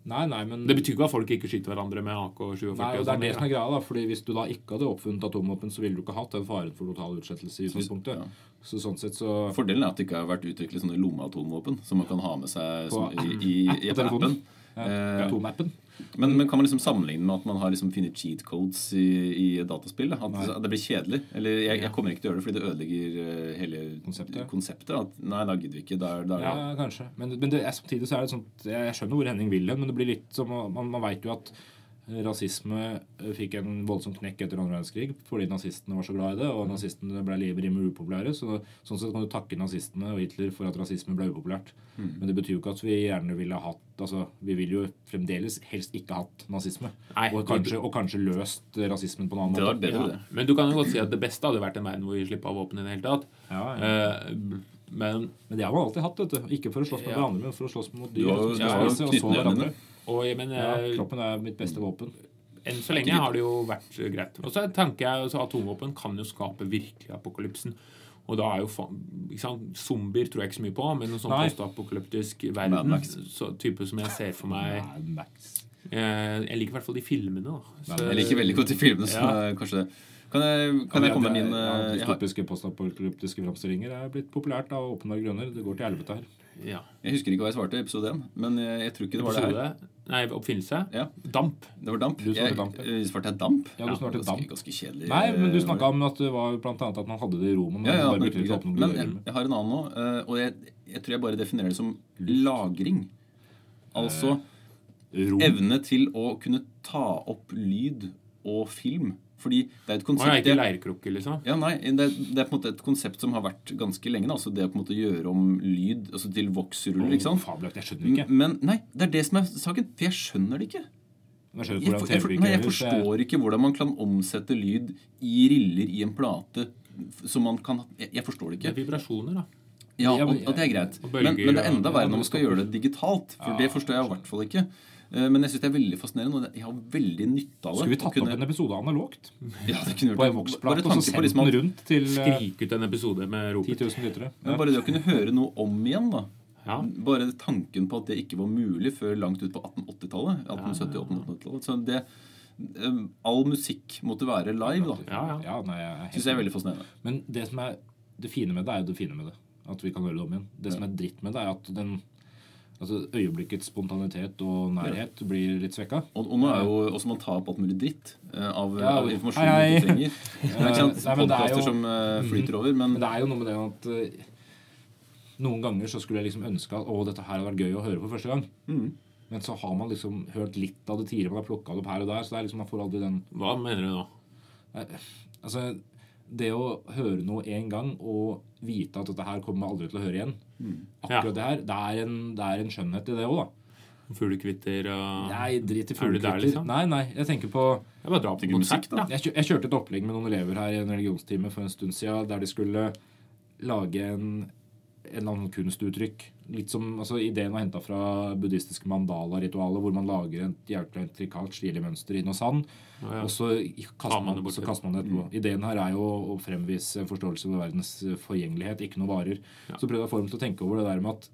Nei, nei, men
Det betyr ikke at folk ikke skyter hverandre med AK-47.
Nei, og det er det som
sånn.
er greia, da. Fordi hvis du da ikke hadde oppfunnet atomvåpen, så ville du ikke hatt den faren for total utslettelse i utgangspunktet. Så sånn sett så
Fordelen er at det ikke har vært utviklet sånne lommeatomvåpen som man kan ha med seg
På
som, i, i,
på
i
telefonen.
appen. Eh,
Atomappen.
Men, men kan man liksom sammenligne med at man har liksom funnet cheat codes i, i dataspill? da? At, at det blir kjedelig? Eller jeg, jeg kommer ikke til å gjøre det fordi det ødelegger eh, hele
Konseptet.
At, nei, da gidder vi ikke. Da, er- da, er
Ja,
det-
Eh, kanskje. Men, men det, er- samtidig så er det sånt Jeg skjønner hvor Henning vil hen, men det blir litt som å- Man, man veit jo at rasisme eh, fikk en voldsom knekk etter andre verdenskrig fordi nazistene var så glad i det,
Mm.
og nazistene ble rimelig upopulære. Så, sånn sett kan du takke nazistene og Hitler for at rasisme ble upopulært.
Mm.
Men det betyr jo ikke at vi gjerne ville hatt altså, Vi vil jo fremdeles helst ikke hatt nazisme.
Nei,
og, kanskje, og kanskje løst rasismen på en annen
det hadde vært
måte.
bedre,
Ja. Men du kan jo godt si at det beste hadde vært en verden hvor vi slipper av våpen i det hele tatt.
Ja, ja.
Eh, Men
Men det har man alltid hatt, vet du. Ikke for å slåss med
Ja.
hverandre, men for å slåss mot
Du
dyr.
har jo-
som
du
skal
har jo
spise, og sånn. så
knyttnevene.
hverandre.
og jeg mener
Ja, Eh, kroppen er mitt beste våpen.
Enn så lenge har det jo vært eh, greit. Og så tenker jeg altså, Atomvåpen kan jo skape virkelig apokalypsen. Og da er jo fa- ikke sant? Zombier tror jeg ikke så mye på, men en sånn
Nei.
postapokalyptisk
Mad
verden
Max.
så, type som jeg ser for meg
Mad Max.
eh, Jeg liker i hvert fall de filmene. da. Så-
Jeg liker veldig godt de filmene som
Ja.
eh, kanskje det. Kan jeg, kan jeg komme med min
ja,
eh, jeg har-
Dystopiske postapokalyptiske framstillinger er blitt populært av åpenbare grunner. Det går til helvete her.
Ja.
Jeg husker ikke hva jeg svarte i episode 1, men eh, jeg, jeg tror ikke det var det her.
Episode Nei, oppfinnelse.
Ja.
Damp.
Det var damp.
Du svarte
Jeg-
damp, ja.
eh, svarte jeg damp?
Ja, du snart et
ganske,
damp.
ganske kjedelig.
Nei, men du
eh,
snakka om at det var blant annet at man hadde det i Roma. Men
ja, ja,
man bare
men,
brukte det til å oppnå
men jeg,
glødegjelder.
jeg har en annen nå, eh, og jeg, jeg tror jeg bare definerer det som lagring. Altså
Rom.
evne til å kunne ta opp lyd og film. Fordi det er et
Å ja,
konsept
ikke
jeg-
leirkrukke, liksom.
ja, nei, det, er- det er på en måte et konsept som har vært ganske lenge. da, Altså det å på en måte gjøre om lyd altså til voksruller. ikke sant?
Fabelaktig. Jeg skjønner ikke.
Men nei, det er det som er saken. For jeg skjønner det ikke.
Jeg skjønner
Jeg,
ikke
for,
hvordan
jeg, for,
TV
nei,
fungerer.
jeg
Det-
forstår ikke hvordan man kan omsette lyd i riller i en plate. Som man kan Jeg, jeg forstår det ikke.
Det er vibrasjoner, da.
Ja,
Ja,
og,
men-
og det er greit.
Og bølger
Men, men det er
og-
enda verre når man skal gjøre det digitalt. For
Ja,
det forstår jeg i hvert fall ikke. Eh, Men jeg syns det er veldig fascinerende, og det- jeg har veldig nytte av det.
Skulle vi
å
tatt
kunne-
opp en episode analogt?
ja, det kunne
På
vi
en
gjort. Bare
voksplate og så
tanke på
sendt
liksom
den
at,
rundt til eh,
Skrik ut en episode
10
med ropet.
000 lyttere?
men
Ja.
bare det å kunne høre noe om igjen, da.
Ja.
Bare tanken på at det ikke var mulig før langt ut på 1880-tallet. 1870-1880-tallet. Så det eh, All musikk måtte være live, da.
Ja, ja.
Ja, nei, jeg er helt
Syns jeg er veldig fascinerende.
Men det som er det fine med det, er jo det fine med det. At vi kan høre det om igjen. Det som er dritt med det, er at den altså øyeblikkets spontanitet og nærhet blir litt svekka.
Og, og nå er jo også man tar opp alt mulig dritt eh, av,
Ja,
av informasjon
hei,
man
hei.
ikke trenger. Det er ikke
Nei,
sant?
men det er
Podkaster
jo-
som eh, flyter over. Men
Men det er jo noe med det at eh, noen ganger så skulle jeg liksom ønske at å, dette her hadde vært gøy å høre for første gang. Men så har man liksom hørt litt av det tidligere, man har plukka det opp her og der. Så det er liksom, man får aldri den
Hva mener du nå?
Altså, det å høre noe én gang og vite at dette her kommer man aldri til å høre igjen Akkurat
Ja.
det her, det er, en, det er en skjønnhet i det òg, da.
Fuglekvitter og
Nei, drit i
Er du der,
fuglekvitter.
liksom?
Nei, nei, jeg tenker på
Jeg bare drar på konsert, da.
jeg, kjø jeg kjørte et opplegg med noen elever her i en religionstime for en stund siden, der de skulle lage en, en eller annen kunstuttrykk. Litt som, altså Ideen var henta fra buddhistiske mandala-ritualet, hvor man lager et jævla intrikat, stilig mønster i noe sand,
Ja, ja.
og så kaster
Tar man
man,
det bort Mm.
så
til.
kaster man det etterpå. Ideen her er jo å fremvise en forståelse for verdens forgjengelighet, ikke noe varer. Så prøvde jeg å få dem til å tenke over det der med at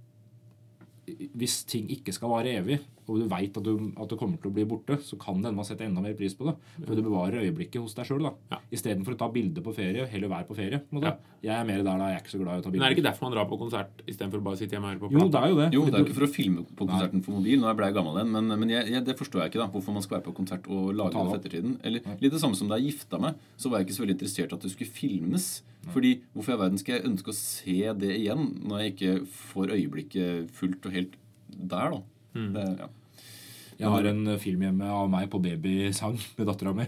hvis ting ikke skal vare evig, og du veit at, du- at du kommer til å bli borte, så kan det hende man setter enda mer pris på det.
Mm.
For du bevarer øyeblikket hos deg sjøl.
Ja.
Istedenfor å ta bilde på ferie. Heller være på ferie. på en måte. Jeg er mer der da. Jeg er ikke så glad i å ta
Men er
bilder.
det ikke derfor man drar på konsert istedenfor å bare sitte hjemme og høre på
Jo,
plata?
det er jo det.
Jo,
Fordi
det er jo
du-
ikke for å filme på konserten for mobil. Nå er jeg blei gammel igjen, men, men jeg, jeg, det forstår jeg ikke. da Hvorfor man skal være på konsert og lage
Ta det
det for
opp.
ettertiden. Eller Litt det samme som da jeg gifta meg, så var jeg ikke så veldig interessert i at det skulle filmes. Fordi hvorfor i all verden skal jeg ønske å se det igjen når jeg ikke får øyeblikket fullt og helt der, da?
Mm.
Det, ja.
Jeg har en eh, film hjemme av meg på babysang med dattera mi,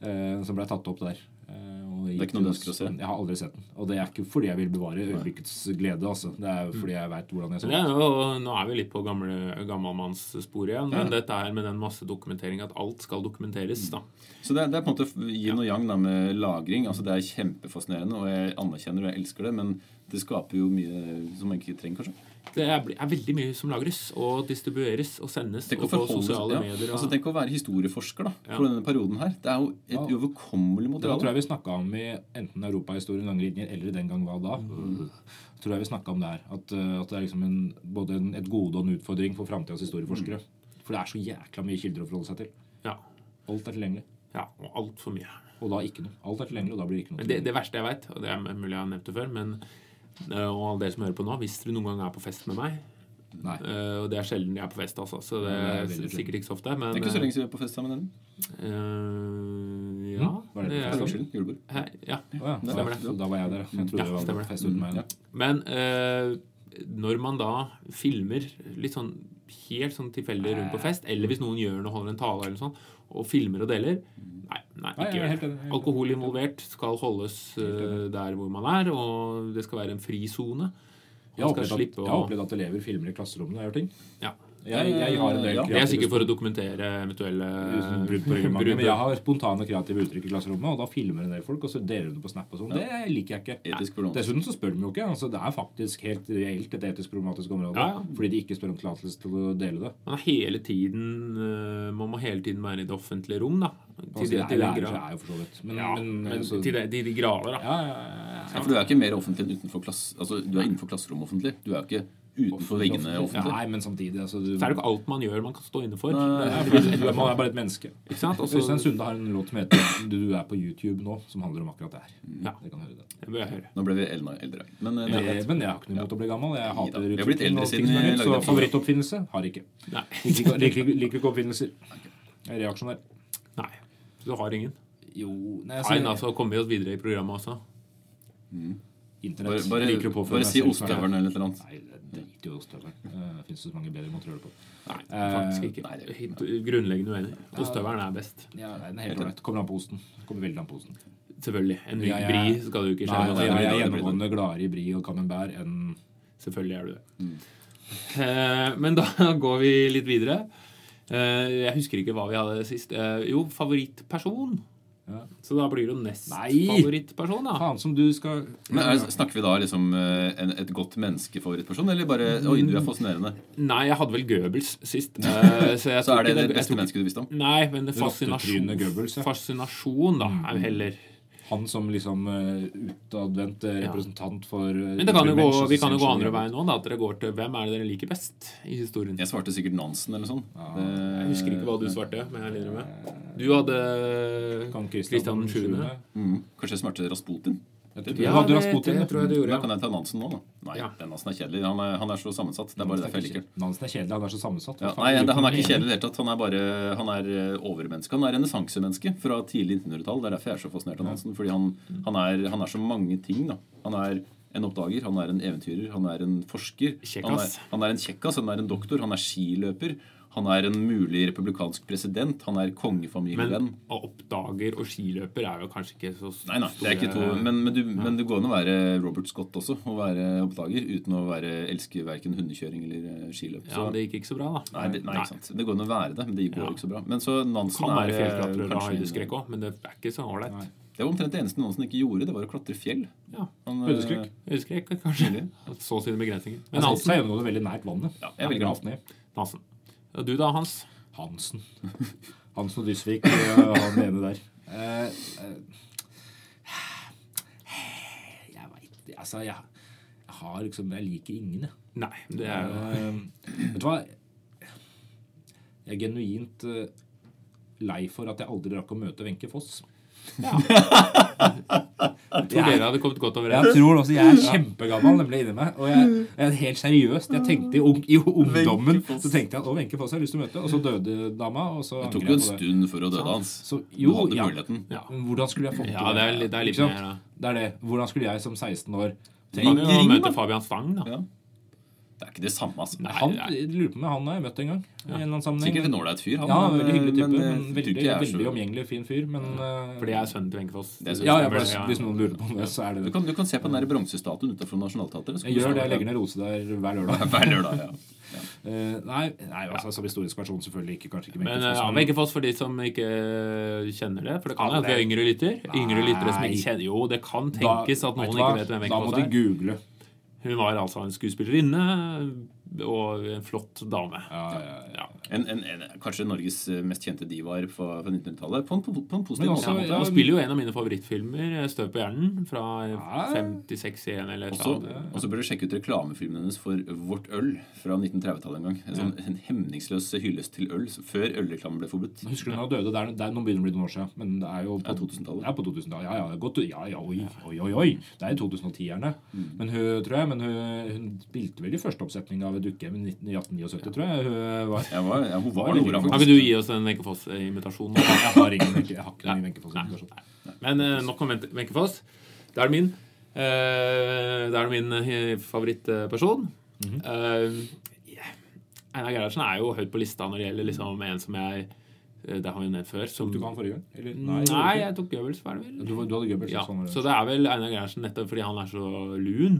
eh, som ble tatt opp der. Eh, og
Mm. Det er ikke noe du ønsker å se?
Jeg har aldri sett den. Og det er ikke fordi jeg vil bevare øyeblikkets glede, altså. Det er fordi jeg veit hvordan jeg så
Men
den.
det er jo, nå er vi litt på gamle, gammalmannssporet igjen, men dette her med den masse dokumentering, at alt skal dokumenteres, da.
Så det er, det er på en måte yin og yang da, med lagring. Altså Det er kjempefascinerende, og jeg anerkjenner og jeg elsker det, men det skaper jo mye som man ikke trenger, kanskje.
Det er, bli- er veldig mye som lagres og distribueres og sendes
Tenk å,
og på
forholde seg-
sosiale
ja.
medier.
altså,
Og,
tenk å være historieforsker da, for
Ja.
denne perioden her. Det er jo et
Ja.
uoverkommelig
Det tror
materiale.
jeg vi snakka om i enten Europahistorien langrenner eller Den gang hva da. Tror jeg vi snakket om det her. At, eh, at det er liksom en, både en, et gode og en utfordring for framtidas historieforskere. For det er så jækla mye kilder å forholde seg til.
ja,
Alt er tilgjengelig.
ja, og altfor mye.
Og da ikke noe. Alt er tilgjengelig, og da blir det ikke noe.
Men det, det verste jeg veit, og det er mulig jeg har nevnt det før, men eh, og alle dere som hører på nå, hvis dere noen gang er på fest med meg
tilgjengelig. Nei.
eh, Og det er sjelden jeg er på fest, altså, så det
Ja, det
er
er veldig
s- sikkert ikke så ofte. Men
Det er ikke så lenge siden vi var på fest sammen med den.
eh, ja,
Hm?
Var det
det
på
er,
fest?
Unnskyld, julebord.
Hæ? ja.
Å ja,
Det
da-
stemmer det.
så Da var jeg der, ja. Jeg trodde
Ja,
det
stemmer
var
det.
fest uten meg.
Mm,
da.
ja.
Men eh, når man da filmer litt sånn helt sånn tilfeldig rundt på fest, eller hvis noen gjør noe, holder en tale eller noe sånt, og filmer og deler Nei, nei
Nei, jeg
ikke
er
gjør
helt
det.
enig, jeg er helt
Alkohol involvert skal holdes eh, der hvor man er, og det skal være en frisone.
Jeg har,
Man skal
opplevd at,
slippe
jeg har
å
opplevd at elever filmer i klasserommene og gjør ting.
ja.
Jeg, jeg har en del
Ja.
Det er sikkert for å
kreative
dokumentere eventuelle
Uten brudd på
brudd.
reglementet. Men jeg har spontane kreative uttrykk i klasserommet, og da filmer en del folk, og så deler du det på Snap og sånn. Det liker jeg ikke.
Etisk problematisk.
Dessuten så spør de jo ikke. altså Det er faktisk helt reelt et etisk problematisk område.
Ja, ja.
Fordi de ikke spør om tillatelse til å dele det.
Man, er hele tiden, eh, man må hele tiden være i det offentlige rom, da. Til,
Altså, det
det-
er
til, den
lærer
grad-
seg er jo for så vidt. Men,
ja,
men,
men
altså,
til de, de, de grader, da.
ja, ja, ja,
Ja, for du er ikke mer offentlig enn utenfor klass... Altså, du er innenfor klasserommet offentlig. Du er ikke utenfor veggene
ja.
offentlig.
Nei, men samtidig altså, du,
Så er det ikke alt man gjør man kan stå inne for.
Nei, fordi du er- Man er bare et menneske.
Ikke sant? Også,
Øystein Sunde har en låt som heter 'Du er på YouTube nå', som handler om akkurat det her.
Ja.
Det kan du høre det.
det bør jeg høre.
Nå ble vi eldre. eldre. Men eh, det er greit.
Eh, Men jeg har ikke noe imot å bli gammel. Jeg hater
Vi har blitt
utvikling
eldre
og
siden
ting som er
jeg
nytt,
lagde
Så
det.
favorittoppfinnelse har jeg ikke.
Nei.
Liker ikke- Liker ikke- liker ikke oppfinnelser. Jeg er reaksjonær.
Nei. Så du har ingen?
Jo nei, jeg
Nei,
sier
altså kommer vi oss videre i programmet også.
Internett.
Bare, bare,
liker å påføre
bare
meg
si
selv som er-
ostehøvelen eller et eller annet.
Nei, det driter jo i ostehøvelen. Eh, Det finnes jo så mange bedre måter å gjøre det på.
Nei, faktisk ikke.
Eh,
nei, det er
Helt Grunnleggende uenig. Ostehøvelen er best.
Ja, nei, den er helt ålreit. Kommer an på osten. Kommer veldig an på osten.
Selvfølgelig. En myk
Ja, ja.
bri skal du ikke
Nei,
skjemme
nei,
deg
jeg er
med.
gjennomgående gladere i brie og camembert enn
Selvfølgelig er du det.
Mm.
Eh, Men da går vi litt videre. Eh, Jeg husker ikke hva vi hadde sist. Eh, Jo, favorittperson.
Ja.
Så da blir det jo nest
Nei!
favorittperson, da.
Faen som du skal
Men er, Snakker vi da liksom eh, en, et godt menneske for et person, eller bare Oi, du er fascinerende.
Nei, jeg hadde vel Goebbels sist. eh, Så, jeg
Så
tror
er det
ikke
det
jeg
beste
tror ikke-
mennesket du visste om?
Nei, men det fascinasjon,
Rottetrynet Goebbels, ja.
fascinasjon da,
Mm.
er jo heller
Han som liksom eh, utadvendt eh, representant for eh,
Men det kan jo gå,
mennesker
vi
som
kan
ser sånn?
jo gå
så
andre
mye.
veien nå, da. At dere går til hvem er det dere liker best i historien.
Jeg svarte sikkert Nansen eller sånn. noe sånt.
Jeg husker ikke hva du svarte, men jeg lider med. Du hadde
Kan
Kristian 7.
Mm. Kanskje jeg smerte Rasputin?
Jeg tror-
Ja,
hadde
det,
Rasputin,
det
da.
tror jeg du
Da
gjorde.
kan jeg ta Nansen nå, da. Nei,
Ja.
den Nansen er kjedelig. Han er, han er så sammensatt. Det er bare derfor jeg liker den.
Nansen Mm, er kjedelig. Han er så sammensatt.
Ja, nei, det- Han er ikke kjedelig i det hele tatt. Han er bare han er eh, overmenneske. Han er renessansemenneske fra tidlig 1900-tall. Det er derfor jeg er så fascinert av Nansen. Fordi han, han, er, han er så mange ting. da. Han er en oppdager, han er en eventyrer, han er en forsker. Han er,
Kjekkas.
han er en kjekkas, han er en doktor, han er skiløper. Han er en mulig republikansk president. Han er kongefamilievenn.
Men oppdager og skiløper er jo kanskje ikke så store
Nei, nei, det er ikke to Men, men, du, men det går an å være Robert Scott også og være oppdager uten å være, elske verken hundekjøring eller eh, skiløp.
Ja,
Så-
det gikk ikke så bra, da.
Nei, det, nei, ikke sant. Det går an å være det, men det går
Ja.
ikke så bra. Men så Nansen
Kan være
er eh,
fjellklatrer og
kanskje-
høydeskrekk òg, men det er ikke så ålreit.
Nei.
Det var omtrent det eneste Nansen ikke gjorde, det var å klatre fjell.
Ja,
Han, eh,
Høydeskrekk.
Høydeskrekk, kanskje. Så sine begrensninger. Men
Men Nansen
Hansen.
er gjennomgående veldig nært vannet.
Ja, jeg velger
Lavt ned.
Hansen. Og du da, Hans?
Hansen. Hansen og Dysvik, eh, han ene der. Eh, eh, jeg veit Altså, jeg, jeg har liksom Jeg liker ingen, jeg.
Nei. Det er jo
Eh, vet du hva? Jeg er genuint eh, lei for at jeg aldri rakk å møte Wenche Foss.
Jeg tror dere hadde kommet godt
Jeg
overens.
tror også jeg
Mm.
er kjempegammel nemlig inni meg. Og jeg, jeg er helt seriøst. Jeg tenkte I, ung, i ungdommen
Wenche Foss.
så tenkte jeg at å, Wenche Foss har jeg lyst til å møte. Og så døde dama. Og så
Det tok
angrer
jo
jeg på
en
det.
stund før å døde hans.
Så,
Du
jo,
hadde
ja.
muligheten.
Ja.
Men Hvordan skulle jeg fått
Ja, det er, det er litt
Ikke sant?
mer da.
Det er det. Hvordan skulle jeg som 16 år
Kan
Ring,
jo
ring,
møte
da.
Fabian Stang, da.
Ja. Det er ikke det samme, altså.
Nei,
Han,
det er-
jeg lurer på om han har jeg møtt en gang. I en eller annen sammenheng.
Sikkert en ålreit fyr, han. eh,
Ja, han er en veldig hyggelig type. Men,
eh,
jeg tror
veldig,
ikke jeg er så-
veldig omgjengelig, fin fyr. Men eh,
Fordi jeg er sønnen til Wenche Foss.
Det er sønnen.
ja, ja,
Stemmer det,
bare, hvis noen lurer på det, så er det
Du
det.
kan, du kan se på den der bronsestatuen utenfor Nationaltheatret.
Jeg
så kan du
gjør
se
det. Jeg
hva
legger ned rose der hver lørdag.
Hver lørdag, ja.
Eh, nei, nei, altså som historisk versjon selvfølgelig ikke. Kanskje ikke
Men
Wenche
eh,
Foss,
ja, Veggefoss for de som ikke eh, kjenner det. For det kan jo at vi har yngre lytter. Yngre lyttere som ikke kjenner Jo, det kan
da-
tenkes at
vet
noen
du
ikke
hva?
vet hvem
Da må de
Veggefoss er.
google.
Hun var altså en skuespillerinne og en flott dame. Ja.
En, en, en, kanskje Norges eh, mest kjente divaer fra, fra 1900-tallet. På, en- på, på en positiv
Men
måte.
også-
Ja,
ja,
Hun spiller jo en av mine favorittfilmer, eh, 'Støv på hjernen', fra
Ja.
56-1 eller et
Også,
eller annet.
og så bør du sjekke ut reklamefilmen hennes for Vårt øl fra 1930-tallet en gang. En, sånn, en hemningsløs hyllest til øl så- før ølreklamen ble forbudt.
Jeg Husker du når hun døde? Det er, det er, nå begynner det å bli noen år siden. Men det er jo
Det er 2000-tallet.
Ja, på 2000-tallet. Ja, ja, godt, ja, ja, oi, oi, oi, oi. Det er i 2010-erne. Men hun, tror jeg, men hun, hun spilte vel i første oppsetning av Dukkehjem i 19- 1879, tror jeg. Hun var,
Jeg var, ja, hun var
Veldig
Nora,
god.
Ja,
faktisk.
vil du gi oss en Wenche Foss-invitasjon? nå?
jeg har ingen Wenche- jeg har ikke noen
Nei.
Wenche Foss-invitasjon.
Men eh, nok om Wenche- Wenche Foss. Det er min. Eh, det er min eh, favorittperson. Eh, yeah. Einar Gerhardsen er jo høyt på lista når det gjelder liksom, en som jeg eh, Det har vi nevnt før. Som,
Du kan forrige gang? Eller?
Mm, nei,
du gjorde ikke.
jeg tok Goebbels, var det vel?
du, du hadde Goebbels?
Ja,
sånn var det.
så det er vel Einar Gerhardsen nettopp fordi han er så lun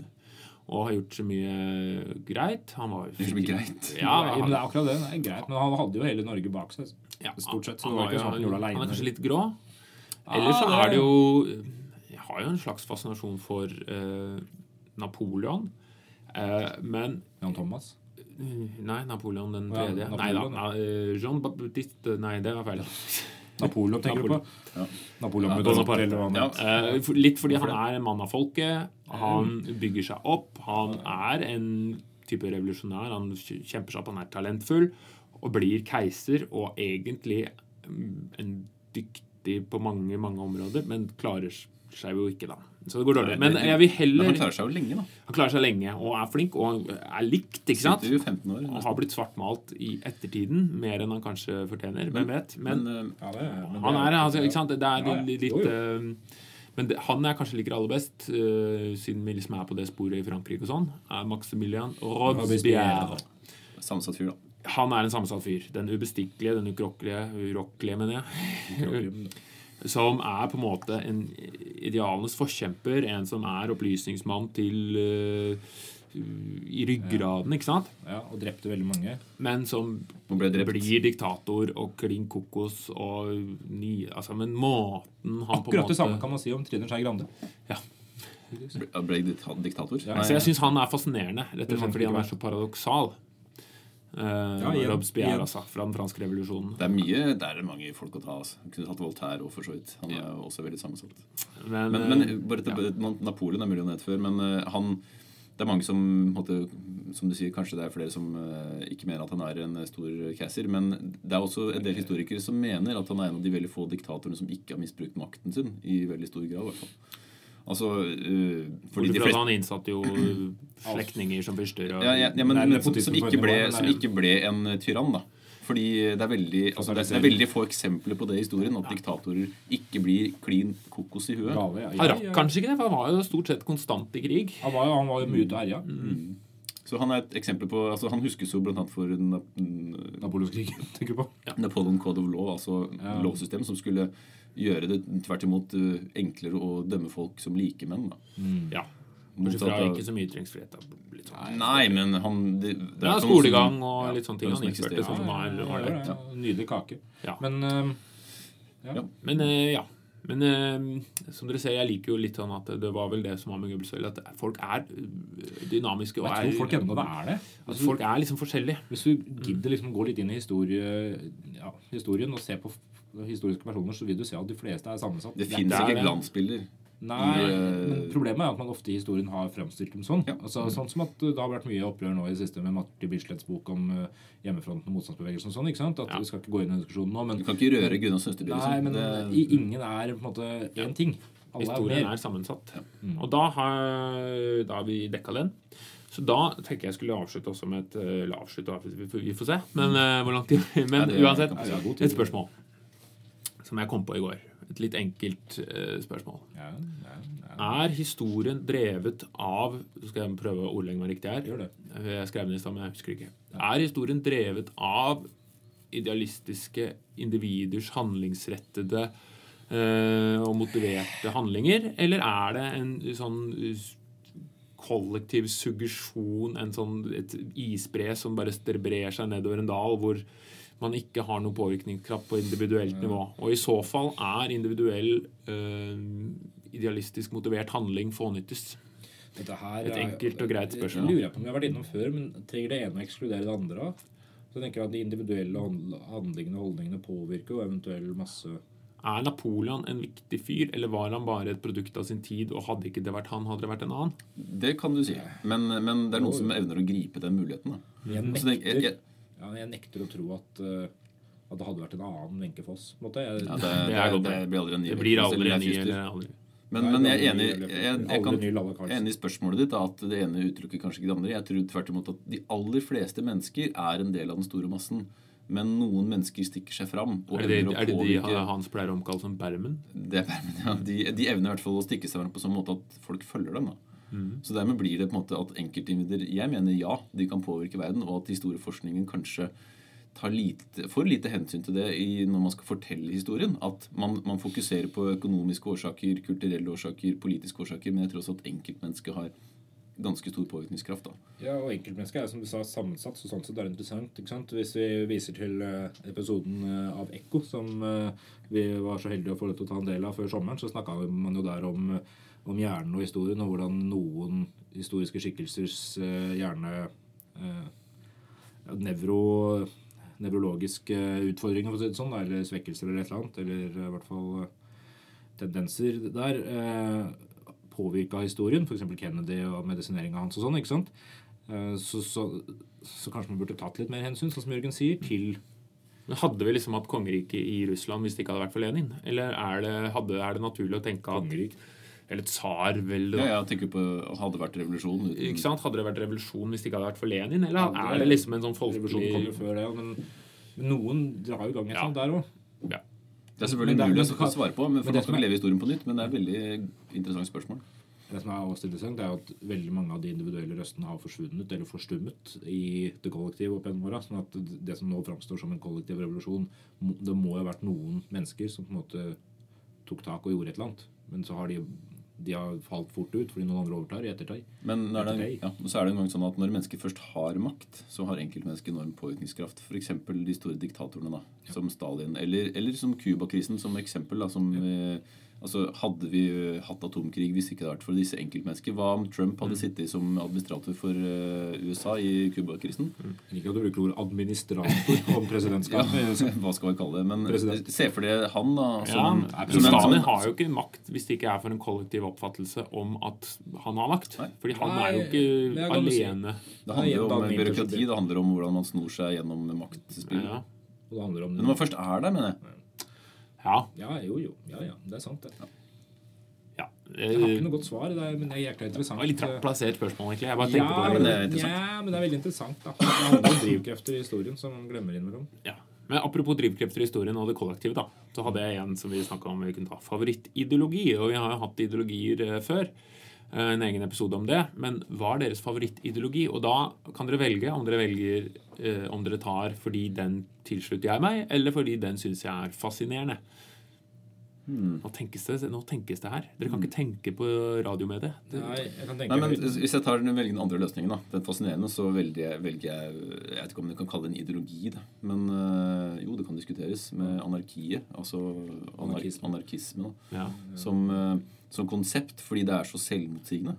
og har gjort så mye greit. Han var
Det
jo
er så mye greit.
Ja,
Nei,
han,
men det er akkurat det. Det er greit. Men han hadde jo hele Norge bak seg.
ja,
stort sett, så det
han,
var
var
ikke
jo-
sånn at han gjorde det alene.
han er kanskje litt grå. Ellers så
Ah,
er
det-
det jo Jeg har jo en slags fascinasjon for eh, Napoleon. Eh, men
Jan Thomas.
Nei, Napoleon den
Ja,
tredje. nei da.
Napoleon,
nei, eh, Jean Baptiste Nei, det var feil.
Napoleon tenker du på?
Ja.
Napoleon
Ja,
med Donatello,
Bonaparte.
eller hva han
Ja.
het.
Eh, for- litt fordi han er en mann av folket. Han bygger seg opp. Han er en type revolusjonær. Han kjemper seg opp, han er talentfull og blir keiser og egentlig mm, en dyktig på mange, mange områder, men klarer seg jo ikke, da. Så det går dårlig. Men jeg vil
Men han
heller
klarer seg jo lenge, da.
Han klarer seg lenge og er flink og er likt, ikke sant?
Sitter jo 15 år.
Han
nesten.
har blitt svartmalt i ettertiden mer enn han kanskje fortjener. Hvem vet? Men,
Men, eh,
Ja, det er- men det
han er altså,
ja.
ikke sant? Det er
Ja, ja.
litt,
Jo,
litt
jo.
eh, Men det, han jeg kanskje liker aller best, eh, siden vi liksom er på det sporet i Frankrike og sånn, er Maximilian Robespierre.
eh, sammensatt fyr, da.
Han er en sammensatt fyr. Den ubestikkelige, den ukrokkelige, urokkelige, mener jeg. Som er på en måte en idealenes forkjemper, en som er opplysningsmann til eh, i ryggraden, ikke sant?
Ja, og drepte veldig mange.
Men som
Hun ble drept.
blir diktator og klin kokos og ny Altså, men måten han på en
Akkurat det
måte
samme kan man si om Trine Skei Grande.
Ble, ble dikta- diktator.
Ja.
Nei,
Så jeg syns han er fascinerende, rett
han
og slett fordi han er
ikke
så paradoksal. Uh,
igjen,
Robespierre,
igjen.
altså, fra den franske revolusjonen.
det er mye, det er mange folk å ta. Altså. Vi Kunne tatt Voltaire og for så vidt. Han er jo også veldig sammensatt.
Men,
Men,
eh,
men bare til, man- Napoleon er mulig å nevne før, men eh, han det er mange som på en måte, som du sier, Kanskje det er flere som eh, ikke mener at han er en stor keiser. Men det er også en del historikere som mener at han er en av de veldig få diktatorene som ikke har misbrukt makten sin. I veldig stor grad, i hvert fall. Altså, eh, fordi
bortsett
de
fra at
fleste
han innsatte jo slektninger som fyrster og
ja, ja, ja,
Det er
men, men som,
nepotisme
som,
på et
ikke
nivå,
ble,
men det er-
som ikke ble en tyrann, da. Fordi det er, veldig, altså, det, er, det er veldig få eksempler på det i historien. At diktatorer ikke blir klin kokos i huet.
Gale, ja.
Han
Ja,
rakk
ja.
kanskje ikke det, for han var jo stort sett konstant i krig.
Han var jo, han var jo mye ute og herja.
Så han er et eksempel på altså Han huskes jo blant annet for Na- n-
Napoleonskrigen, tenker du på.
Napoleon Code of Law, altså
Ja.
lovsystem som skulle gjøre det tvert imot eh, enklere å dømme folk som likemenn. da.
Ja. Bortsett
Motsatt
fra
av-
ikke så mye ytringsfrihet. da. Litt sånn.
Nei, men han det, det
Ja,
ikke noe
skolegang
som-
og
ja,
litt sånne
det er noe
ting han
som
innførte. sånn-
eksisterer.
Som
Ja,
var,
ja,
var
ja,
lett.
ja. Nydelig kake.
Ja.
Men øhm,
Men eh, ja. Men eh, som dere ser, jeg liker jo litt sånn at det var vel det som var med Goebbels Øl, at folk er eh, dynamiske. Og
jeg tror
er,
folk ennå det er det. Altså,
at folk er liksom forskjellige.
Hvis du gidder liksom gå litt inn i historie, ja, historien og se på f- historiske personer, så vil du se at de fleste er sammensatt.
Det fins
er
ikke
det.
glansbilder.
Nei,
Eh,
men problemet er at man ofte i historien har fremstilt dem sånn.
Ja.
Altså, sånn som at eh, Det har vært mye opprør nå i det siste med Martin Bislets bok om eh, hjemmefronten og motstandsbevegelsen. og sånn, ikke sant? At
Ja.
Vi skal ikke gå inn i den diskusjonen nå, men,
Du kan ikke røre Gunnar Søsterby.
nei,
liksom.
men
det,
i, ingen er på en måte én ting. Alle er
Historien
mer.
er sammensatt.
Mm.
Og da har, da har vi dekka den. Så da tenker jeg skulle avslutte også med et eh, Eller avslutte, avslutte, vi får, vi får se. Men eh, hvor lang tid Men
Ja, det-
uansett,
det
Mm. er god tid.
et spørsmål som jeg kom på i går. Et litt enkelt eh, spørsmål.
Ja, ja, ja.
Er historien drevet av Så skal jeg prøve å ordlegge meg riktig her.
Gjør det.
Jeg skrev den i stad, men jeg husker ikke. Er historien drevet av idealistiske individers handlingsrettede eh, og motiverte handlinger, eller er det en sånn s- kollektiv suggesjon, en sånn, et isbre som bare brer seg nedover en dal, hvor man ikke har noen påvirkningskraft på individuelt nivå. Og i så fall er individuell eh, idealistisk motivert handling fånyttes.
Dette her
Et
er-
enkelt og greit spørsmål.
Det lurer jeg på om jeg har vært innom før, men trenger det ene å ekskludere det andre? da? Så tenker jeg at De individuelle handl- handlingene og holdningene påvirker jo eventuell masse
Er Napoleon en viktig fyr, eller var han bare et produkt av sin tid, og hadde ikke det vært han, hadde det vært en annen?
det kan du si. Men, men det er noen som evner å gripe den muligheten. Da.
Jeg
Og så tenker jeg-
nekter,
jeg-
ja, jeg nekter å tro at, eh, at det hadde vært en annen Wenche Foss. på en måte. Jeg,
Ja, det,
Det
det,
er
er-
godt,
det
det.
blir aldri en ny
Det blir
Wenche Foss,
aldri
eller
en ny
Leif Juster.
eller aldri.
Men, men jeg er enig,
Aldri
jeg, jeg,
ny
kan,
Lalla Carlsen.
jeg er enig i spørsmålet ditt. da, At det ene uttrykker kanskje ikke det andre. Jeg tror tvert imot at de aller fleste mennesker er en del av den store massen. Men noen mennesker stikker seg fram. Og
Er det,
evner å
er det de
påvirke-
han- Hans pleier å omkalle som Bermen?
det er bare- ja, de, de evner i hvert fall å stikke seg fram på sånn måte at folk følger dem. da. Så dermed blir det på en måte at enkeltindivider Jeg mener ja, de kan påvirke verden, og at historieforskningen kanskje tar lite, for lite hensyn til det i, når man skal fortelle historien. At man, man fokuserer på økonomiske årsaker, kulturelle årsaker, politiske årsaker, men jeg tror også at enkeltmennesket har ganske stor påvirkningskraft. da.
ja, og enkeltmennesket er som du sa sammensatt, så sånn sett er det interessant. ikke sant? Hvis vi viser til eh, episoden eh, av Ekko, som eh, vi var så heldige å få lov til å ta en del av før sommeren, så snakka man jo der om, eh, om hjernen og historien, og hvordan noen historiske skikkelsers eh, hjerne eh, nevro, nevrologiske utfordringer, for å si det sånn, da, eller svekkelser eller et eller annet, eller i hvert fall eh, tendenser der, eh, påvirka historien, f.eks. Kennedy og medisineringa hans og sånn, ikke sant? Eh, Så, så, så kanskje man burde tatt litt mer hensyn, sånn som Jørgen sier, til
Men Hadde vi liksom hatt kongeriket i Russland hvis det ikke hadde vært for Lenin? Eller er det, hadde, er det naturlig å tenke at
kongerik.
Eller tsarvelde?
Ja,
da?
jeg tenker på Hadde det vært revolusjon uten
Ikke sant? Hadde det vært revolusjon hvis det ikke hadde vært for Lenin? Eller
Ja,
er
det-
det liksom en sånn
Revolusjonen kom
folkelig
jo før det, ja, men men noen drar jo i gang et
Ja.
sånt der òg.
Det
ja.
er
Men
selvfølgelig
det er-
mulig
men-
å svare på, men for
men det
nå skal
som
vi
er-
leve historien på nytt. Men det er et veldig interessant spørsmål.
Det som er også interessant, det er at veldig mange av de individuelle røstene har forsvunnet eller forstummet i det kollektive opp gjennom åra. Sånn at det som nå framstår som en kollektiv revolusjon, må- det må jo ha vært noen mennesker som på en måte tok tak og gjorde et eller annet. Men så har de, de har falt fort ut fordi noen andre overtar i ettertid.
Men når det,
Etter deg.
ja, og så er det en gang sånn at når mennesker først har makt, så har enkeltmennesket enorm påvirkningskraft. F.eks. de store diktatorene, da, som Stalin. Eller, eller som Cuba-krisen som eksempel. Da, som, eh, altså, hadde vi eh, hatt atomkrig hvis ikke det hadde vært for disse enkeltmennesker? Hva om Trump
Mm.
hadde sittet som administrator for eh, USA i Cuba-krisen?
Jeg liker at du bruker ordet administrator om presidentskap.
Hva skal vi kalle det? Men eh,
President.
se for deg han, da.
Ja,
Som,
men
som en- som
Stalin
en-
har jo ikke makt hvis det ikke er for en kollektiv oppfattelse om at han har makt.
Nei.
Fordi han
Nei,
er jo
det
ikke
er godt å si.
alene.
Det handler jo om
Nei,
byråkrati. Det handler om hvordan man snor seg gjennom maktspill.
Ja.
Og det handler om
Men når man først er der, mener jeg.
ja.
Ja, jo, jo. Ja, ja. Det er sant, det.
ja.
Jeg har
Eh,
ikke noe godt svar, det er, men det er jækla
Det
interessant.
var litt rart plassert spørsmål, egentlig. Jeg bare
Ja,
tenkte på
men
det
det.
det,
er interessant.
ja, men det er veldig interessant. da. Det handler om drivkrefter i historien som man glemmer innimellom.
Ja. Men apropos drivkrefter i historien og det kollektive, da, så hadde jeg en som vi snakket om vi kunne ta favorittideologi. Og vi har jo hatt ideologier eh, før. eh, En egen episode om det. Men hva er deres favorittideologi? Og da kan dere velge om dere velger eh, om dere tar fordi den tilslutter jeg meg, eller fordi den syns jeg er fascinerende.
Hmm.
Nå, tenkes det, nå tenkes det her. Dere kan ikke tenke på radiomediet. Det-
Nei, jeg kan tenke
Nei, men
meg ut.
Hvis jeg tar den, velger den andre løsningen, da, den fascinerende, så velger jeg, velger jeg Jeg vet ikke om du kan kalle det en ideologi, da. men øh, jo, det kan diskuteres. Med anarkiet, altså anar
Anarkisme.
anarkisme, da,
Ja.
som, øh, som konsept, fordi det er så selvmotsigende.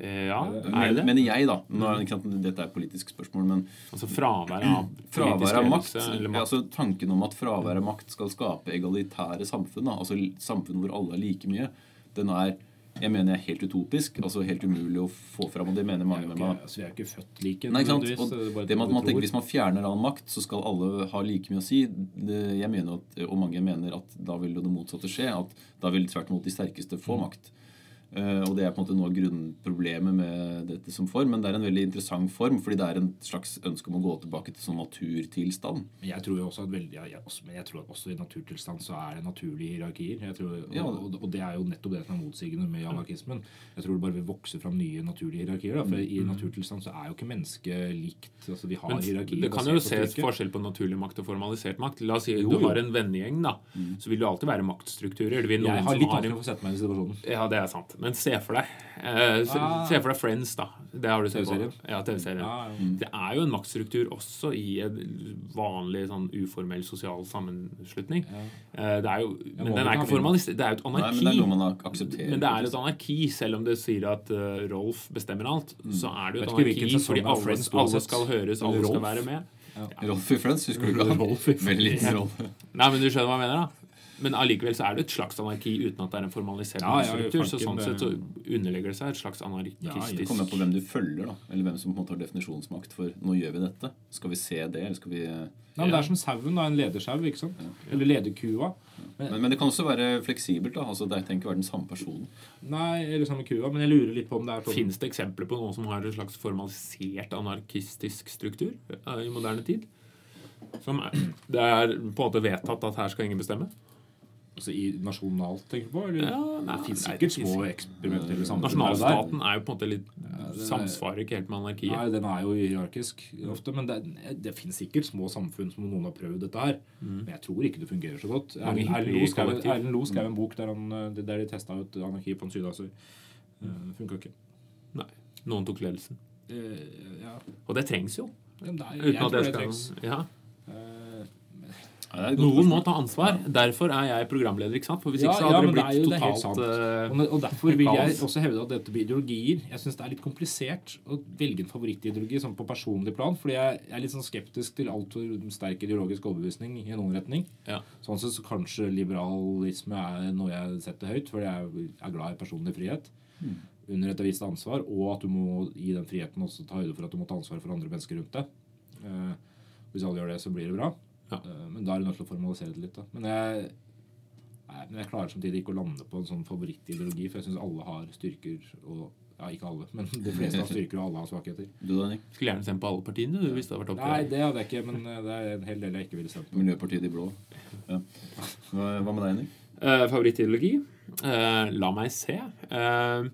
Eh, ja, er
Men,
det Mm. det?
mener jeg, da. Nå, er det ikke sant, dette er et politisk spørsmål, men
Altså fraværet av
Fravær av makt,
eller
ja,
makt. Mm.
altså Tanken om at fravær av makt skal skape egalitære samfunn, da, altså l- samfunn hvor alle er like mye, den er jeg mener er helt utopisk. Altså helt umulig å få fram. Og det mener
Vi
mange
er jo
med meg.
ikke, altså, vi er jo ikke født like.
Nei, ikke
nødvendigvis,
sant?
er bare
Og det med at
noe
man
vi tror.
tenker Hvis man fjerner all makt, så skal alle ha like mye å si. Det, jeg mener at, Og mange mener at da vil jo det motsatte skje. At da vil tvert imot de sterkeste få makt. Eh, og det er på en måte noe av grunnproblemet med dette som form. Men det er en veldig interessant form, fordi det er en slags ønske om å gå tilbake til sånn naturtilstand.
Men jeg tror jo også at veldig, ja, jeg, også, men jeg tror at også i naturtilstand så er det naturlige hierarkier. Jeg tror, og,
Ja.
og, og det er jo nettopp det som er motsigende med anarkismen. Jeg tror det bare vil vokse fram nye naturlige hierarkier. Da, for i naturtilstand så er jo ikke mennesket likt. Altså, vi har
Men
hierarkier.
det kan
basert
jo
på
ses
styrke.
forskjell på naturlig makt og formalisert makt. La oss si
Jo,
du
jo.
har en vennegjeng, da. Så vil det alltid være maktstrukturer. Det vil noen
Jeg har
som
litt
har
vanskelig for å sette meg i den situasjonen.
Ja, det er sant. Men se for deg eh, se,
Ah.
se for deg Friends, da. Det har du sett på.
TV-serien.
Ja, TV-serien.
Ja, ja.
Det er jo en maktstruktur også i en vanlig sånn uformell sosial sammenslutning. Eh, Det er jo, men den
vanlig
er
kan
ikke
vi-
formalistisk. Det er jo et
Nei,
anarki.
men det er noe man ak- aksepterer.
Men det er
faktisk.
et anarki, selv om det sier at eh, Rolf bestemmer alt. Så er det jo
Vet
et
ikke hvilken
anarki
sesong
fordi
det er
alle,
Friends på,
alle
men-
skal høres, alle
Rolf?
skal være med.
Rolf i Friends, husker du ikke? han?
Rolf i
Veldig liten rolle.
Nei, men du skjønner hva jeg mener, da. Men allikevel så er det et slags anarki uten at det er en formalisert
Ja, ja,
struktur. Så
tanken
sånn
det-
sett så underlegger det seg et slags
Det kommer an
anarkistisk
på hvem du følger, da. Eller hvem som på en måte har definisjonsmakt for 'nå gjør vi dette'. Skal vi se det, eller skal vi
Nei, men det er som sauen, da. En ledersau, ikke sant? Eller lederkua.
Men, men det kan også være fleksibelt. da, altså Det trenger ikke være den samme personen.
Nei, eller samme kua, men jeg lurer litt på om det er sånn
Fins det eksempler på noen som har en slags formalisert anarkistisk struktur eh, i moderne tid? Som er, det er på en måte vedtatt at her skal ingen bestemme?
altså, i nasjonalt, tenker du på? Eller?
Ja, nei,
det fins
nei,
sikkert
det
små eksperimenter eller samfunn der.
Nasjonalstaten er jo på en måte litt
det er-
Samsvarer ikke helt med anarkiet.
Nei, den er jo hierarkisk ofte, men det, det finnes sikkert små samfunn som noen har prøvd dette her. Men jeg tror ikke Mm. det fungerer så godt.
Mange
Erlend Erlend
hippier
Loe skrev,
kollektiv.
Erlend Loe skrev en bok der, han, eh, der de testa ut anarki på en sydasøy. Uh, Funka ikke.
Nei. Noen tok ledelsen.
Eh, ja.
Og det trengs jo.
Men det er-
Uten
jeg
at
tror
det
det
skal
trengs.
ja.
Eh,
Nei, det er et godt
Noen må
spørsmål.
ta ansvar. Derfor er jeg programleder, ikke sant? For hvis
Ja,
ikke så
ja,
hadde
men det
det
er
blitt
jo- det er helt sant.
totalt eh,
Og, og Derfor vil jeg
Kaos.
også hevde at dette blir ideologier. Jeg syns det er litt komplisert å velge en favorittideologi sånn på personlig plan, fordi jeg er litt sånn skeptisk til altfor sterk ideologisk overbevisning i noen retning.
eh, Ja.
Sånn sett så kanskje liberalisme er noe jeg setter høyt, fordi jeg er glad i personlig frihet. Under et visst ansvar, og at du må i den friheten også ta høyde for at du må ta ansvar for andre mennesker rundt deg. Eh, hvis alle gjør det, så blir det bra.
Ja.
Eh, men da er du nødt til å formalisere det litt. Da. Men jeg Nei, men jeg klarer samtidig ikke å lande på en sånn favorittideologi, for jeg syns alle har styrker og Ja, ikke alle, men de fleste har styrker, og alle har svakheter.
Du da, Nick?
Skulle gjerne stemt på alle partiene du, hvis det hadde vært opp
Nei,
til deg.
det hadde jeg ikke, men eh, det er en hel del jeg ikke ville stemt på.
Miljøpartiet De Blå. Ja. Hva hva med deg, Nick?
Eh, favorittideologi? Eh, la meg se. Eh,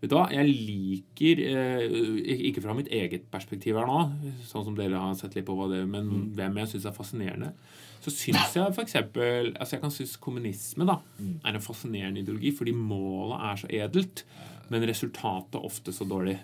vet du hva, jeg liker eh, ik- Ikke fra mitt eget perspektiv her nå, sånn som dere har sett litt på hva det men hvem jeg syns er fascinerende. Så syns jeg for eksempel, altså Jeg kan synes kommunisme da, er en fascinerende ideologi fordi målet er så edelt, men resultatet ofte så dårlig.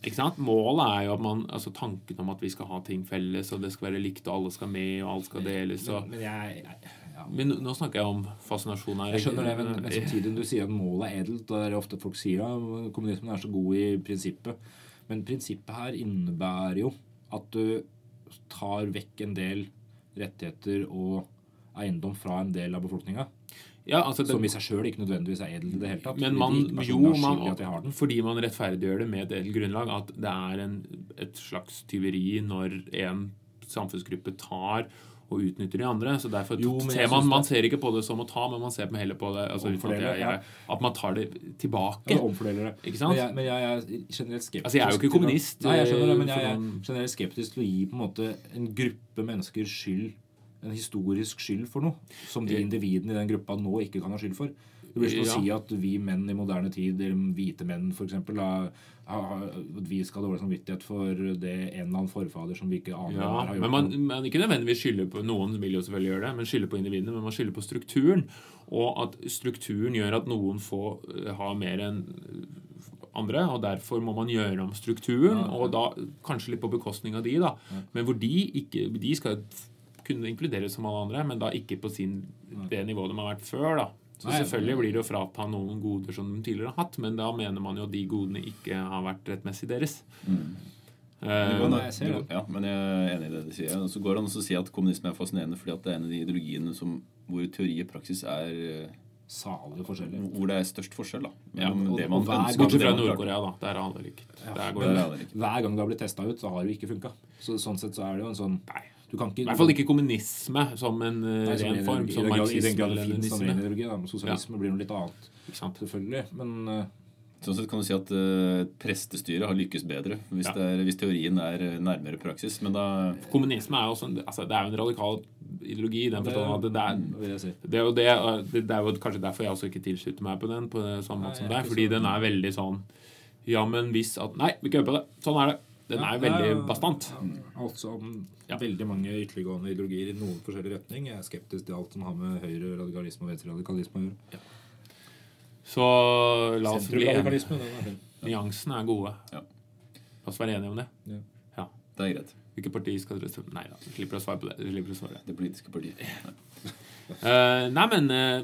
Ikke sant? Målet er jo at man, altså tanken om at vi skal ha ting felles, og det skal være likt, og alle skal med, og alt skal deles. og...
Men, men jeg, jeg, ja.
Men nå- nå snakker jeg om fascinasjon her.
jeg skjønner det,
Mm,
men, men samtidig når du sier at målet er edelt, da er det ofte folk sier at kommunismen er så god i prinsippet. Men prinsippet her innebærer jo at du tar vekk en del rettigheter og eiendom fra en del av befolkninga.
Ja, altså det,
Som i seg sjøl ikke nødvendigvis er edelt i det hele tatt.
men
fordi
man,
de ikke
jo,
personlig er
man,
skyldig i at de har den.
fordi man rettferdiggjør det med et edelt grunnlag, at det er en, et slags tyveri når en samfunnsgruppe tar og utnytter de andre. Så derfor
Jo, men jeg
ser man,
synes
man
det-
ser ikke på det som å ta, men man ser heller på det altså, uten at,
Omfordele,
jeg,
ja. Altså,
jeg, at man tar det tilbake.
Ja, omfordeler det.
Ikke sant?
Men jeg, men jeg er generelt skeptisk
Altså, jeg er jo ikke
til å-
kommunist, eh,
Nei, jeg skjønner det, men jeg
for
er
noen-
generelt skeptisk til å gi på en måte en gruppe mennesker skyld en historisk skyld for noe som de
Eh.
individene i den gruppa nå ikke kan ha skyld for. Det blir som å
Ja.
si at vi menn i moderne tid, eller hvite menn f.eks., at vi skal ha dårlig samvittighet for det en eller annen forfader som vi ikke aner hva
Ja,
har
men
gjort.
man, man ikke nødvendigvis skylder på Noen vil jo selvfølgelig gjøre det, men skylder på individene. Men man skylder på strukturen. Og at strukturen gjør at noen få eh, har mer enn eh, andre. Og derfor må man gjøre om strukturen, og da kanskje litt på bekostning av de. da Men hvor de ikke De skal kunne inkluderes som alle andre, men da ikke på sin, det nivået de har vært før. da så
Nei,
selvfølgelig blir det å frata noen goder som de tidligere har hatt, men da mener man jo at de godene ikke har vært rettmessig deres.
Mm.
Eh,
Jo, nei, jeg ser
Du-
det.
Ja, men jeg er enig i det du sier. Og Så går det an å si at kommunisme er fascinerende fordi at det er en av de ideologiene som, hvor teori og praksis er eh,
salige forskjeller.
Hvor det er størst forskjell, da.
Ja,
mellom
og-
det man
og hver-
ønsker, og
Bortsett
det man
fra
klarer.
Nord-Korea, da. Der er alle likt. Der går
Det
det.
er det ikke.
Hver gang det har blitt testa ut, så har det jo ikke funka. Så, sånn sett så er det jo en sånn
Nei.
Du kan ikke
I hvert fall ikke kommunisme som en eh,
Nei,
ren form.
i
Som
den grad- i den
marxisme
grad det
eller
finnes som
leninisme.
ren ideologi, da, men Sosialisme blir noe litt annet,
Ikke sant?
selvfølgelig. Men eh,
Sånn sett kan du si at eh, prestestyret har lykkes bedre hvis,
Ja.
det er, hvis teorien er eh, nærmere praksis. Men da
Kommunisme er jo også en, altså, det er jo en radikal ideologi i den forstand at det, det er
hva vil jeg si.
Det er jo det, og det, det er jo kanskje derfor jeg også ikke tilslutter meg på den. på det samme måte som
Nei, jeg er
deg,
ikke
Fordi
så-
den er veldig sånn Ja, men hvis at Nei, vi kødder på det. Sånn er det. Den er jo veldig
Ja.
bastant.
Altså om
Ja.
veldig mange ytterliggående ideologier i noen forskjellig retning. Jeg er skeptisk til alt som har med høyre radikalisme og venstre radikalisme å gjøre.
Så la oss bli enige.
Sentrumradikalisme, den er fin.
Nyansene er gode.
Ja.
La oss være enige om det.
Ja.
Ja.
det er greit.
Hvilket parti skal dere stemme Nei da, vi slipper å svare på det. vi Slipper å svare.
Det politiske partiet.
Eh, nei, men eh,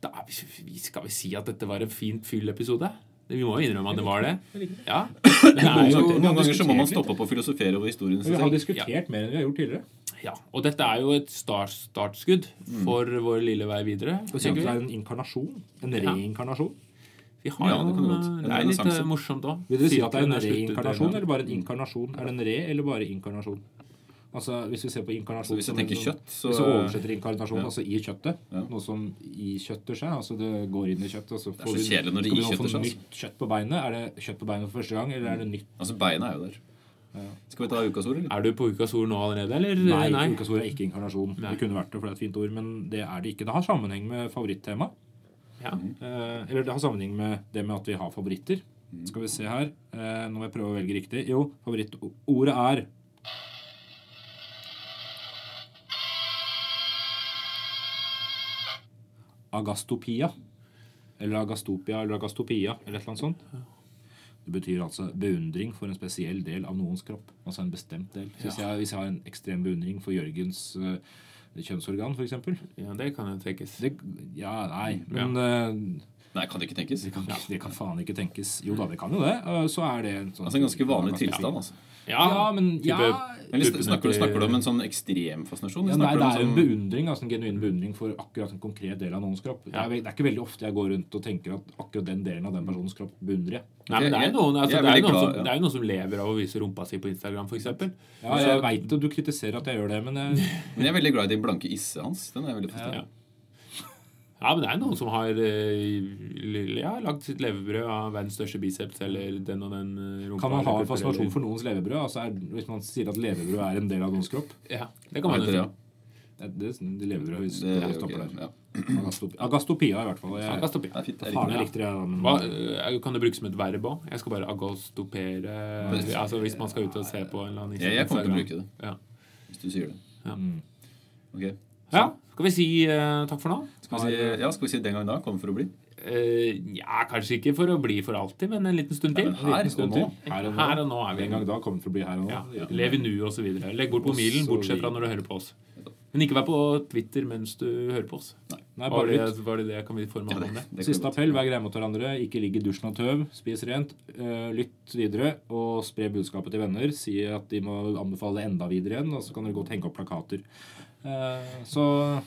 da, er vi- vi- Skal vi si at dette var en fint fyll-episode? Vi må jo innrømme at det var det. Ja. Det er
vi
Noen, ganger-
jo, sånn
har
noen ganger så må man
diskutert
stoppe opp og filosofere over historien.
Vi
synes
har
jeg.
diskutert mer enn vi har gjort tidligere.
ja. Og dette er jo et start, startskudd for vår lille vei videre.
Og kjente
tenker vi.
det er en inkarnasjon. En
Ja.
reinkarnasjon.
Vi har
Ja,
jo
det kan
noen,
godt.
eh,
En
det er litt
renessanse.
eh, morsomt òg.
Vil dere si at det er en reinkarnasjon eller bare en inkarnasjon? Er det en re eller bare inkarnasjon? Altså, Hvis vi ser på
Så
inkarnasjon
hvis jeg
som en
tenker
sånn-
kjøtt, så
Hvis vi oversetter inkarnasjon,
ja.
altså i kjøttet,
Ja.
noe som ikjøtter seg altså Det går inn i kjøttet. Altså
er så kjedelig når det
skal vi nå
ikjøtter
få
seg, altså.
Nytt kjøtt på beinet. Er det kjøtt på beinet for første gang, eller er det nytt?
Altså beina er jo der. Skal vi ta ukas ord, eller?
Er du på ukas ord nå allerede, eller?
Nei, ukas ord er ikke inkarnasjon.
Nei.
Det kunne vært det, for det er et fint ord, men det er det ikke. Det har sammenheng med favorittema.
Ja.
Eh, eller det har sammenheng med det med at vi har favoritter. Skal vi se her. Eh, nå må jeg prøve å velge riktig. Jo, favorittordet er Agastopia. Eller agastopia eller agastopia eller et eller annet sånt. Det betyr altså beundring for en spesiell del av noens kropp. Altså en bestemt del. Så Hvis, jeg, hvis jeg har en ekstrem beundring for Jørgens eh, kjønnsorgan, f.eks.
ja, det kan jo tenkes.
Det, ja, nei, men eh,
Nei, kan det ikke tenkes.
det, kan, det kan faen ikke tenkes. Jo da, det kan jo det. eh, så er det en sånn
Altså en ganske vanlig tilstand, altså.
Ja, men ja,
type-
Eller
Tuppen
snakker,
etter-
snakker du om en sånn ekstrem fascinasjon?
ja,
eller
Nei,
snakker du
det er
om
jo en
sånn-
beundring. Altså en genuin beundring for akkurat en konkret del av noens kropp. Det
Ja.
er, vel- det er ikke veldig ofte jeg går rundt og tenker at akkurat den delen av den personens kropp beundrer jeg.
Nei, men det er jo noen, altså,
Jeg er
det er
veldig
jo noen,
glad,
som,
ja.
det er jo noen som lever av å vise rumpa si på Instagram, f.eks.
Ja, jeg veit jo du kritiserer at jeg gjør det, men eh, jeg,
Men jeg er veldig glad i den blanke isse hans. Den er jeg veldig fascinert.
Ja. Ja, men det er noen som har eh, ja, lagd sitt levebrød av verdens største biceps eller den og den eh, rumpa.
kan man ha
eller
en fascinasjon
pupper,
for noens levebrød? Altså er, hvis man sier at levebrød er en del av noens kropp
eller- Ja, det kan man jo
Heter det,
si.
ja.
Det, det, det levebrød hvis
Det er
det
jo
stopper
ikke-
der.
ja.
Agastopia, Agastopia i hvert fall.
Ja,
Jeg,
kast oppi.
Det er fint. Det er
faen,
riktig.
jeg likte det. da, men-
Hva, eh, kan det brukes som et verb òg? Jeg skal bare agostopere altså Hvis man skal ut og se på en eller annen
Jeg, jeg kommer til å bruke
Instagram.
det
Ja.
hvis du sier det.
Ja.
Ok.
ja. Skal vi si eh, takk for nå?
Skal vi si, ja, skal vi si den gang da? Kommer for å bli?
Eh, ja, kanskje ikke for å bli for alltid, men en liten stund til.
men her og nå.
Her og nå.
Her og nå er vi
En gang da kommer det til å bli her og nå.
Ja, Lev i nuet osv. Legg bort mobilen,
så
bortsett
videre.
fra når du hører på oss. Men ikke vær på Twitter mens du hører på oss.
Nei,
Var
bare
det,
litt.
var det det kan vi forme om det?
Det kan
Siste
vi godt.
appell, vær greie mot hverandre. Ikke ligg i dusjen og tøv. Spis rent. eh, Lytt videre. Og spre budskapet til venner. Si at de må anbefale enda videre igjen, og så kan dere godt henge opp plakater. Eh, Så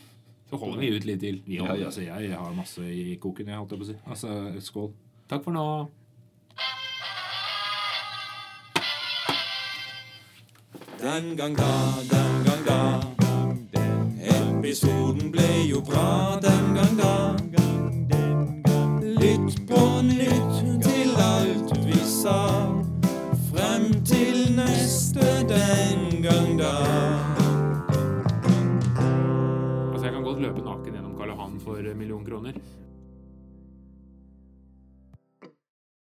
Så holder vi ut litt til.
ja,
Ja, ja.
altså, jeg, jeg har masse i koken, jeg, holdt jeg på å si. Altså, skål.
Takk for nå.
Den gang da, den gang da. Episoden ble jo bra den gang da. Lytt på nytt til alt vi sa. Frem til neste den gang da.
Altså, jeg kan godt løpe naken gjennom Karl Johan for en million kroner.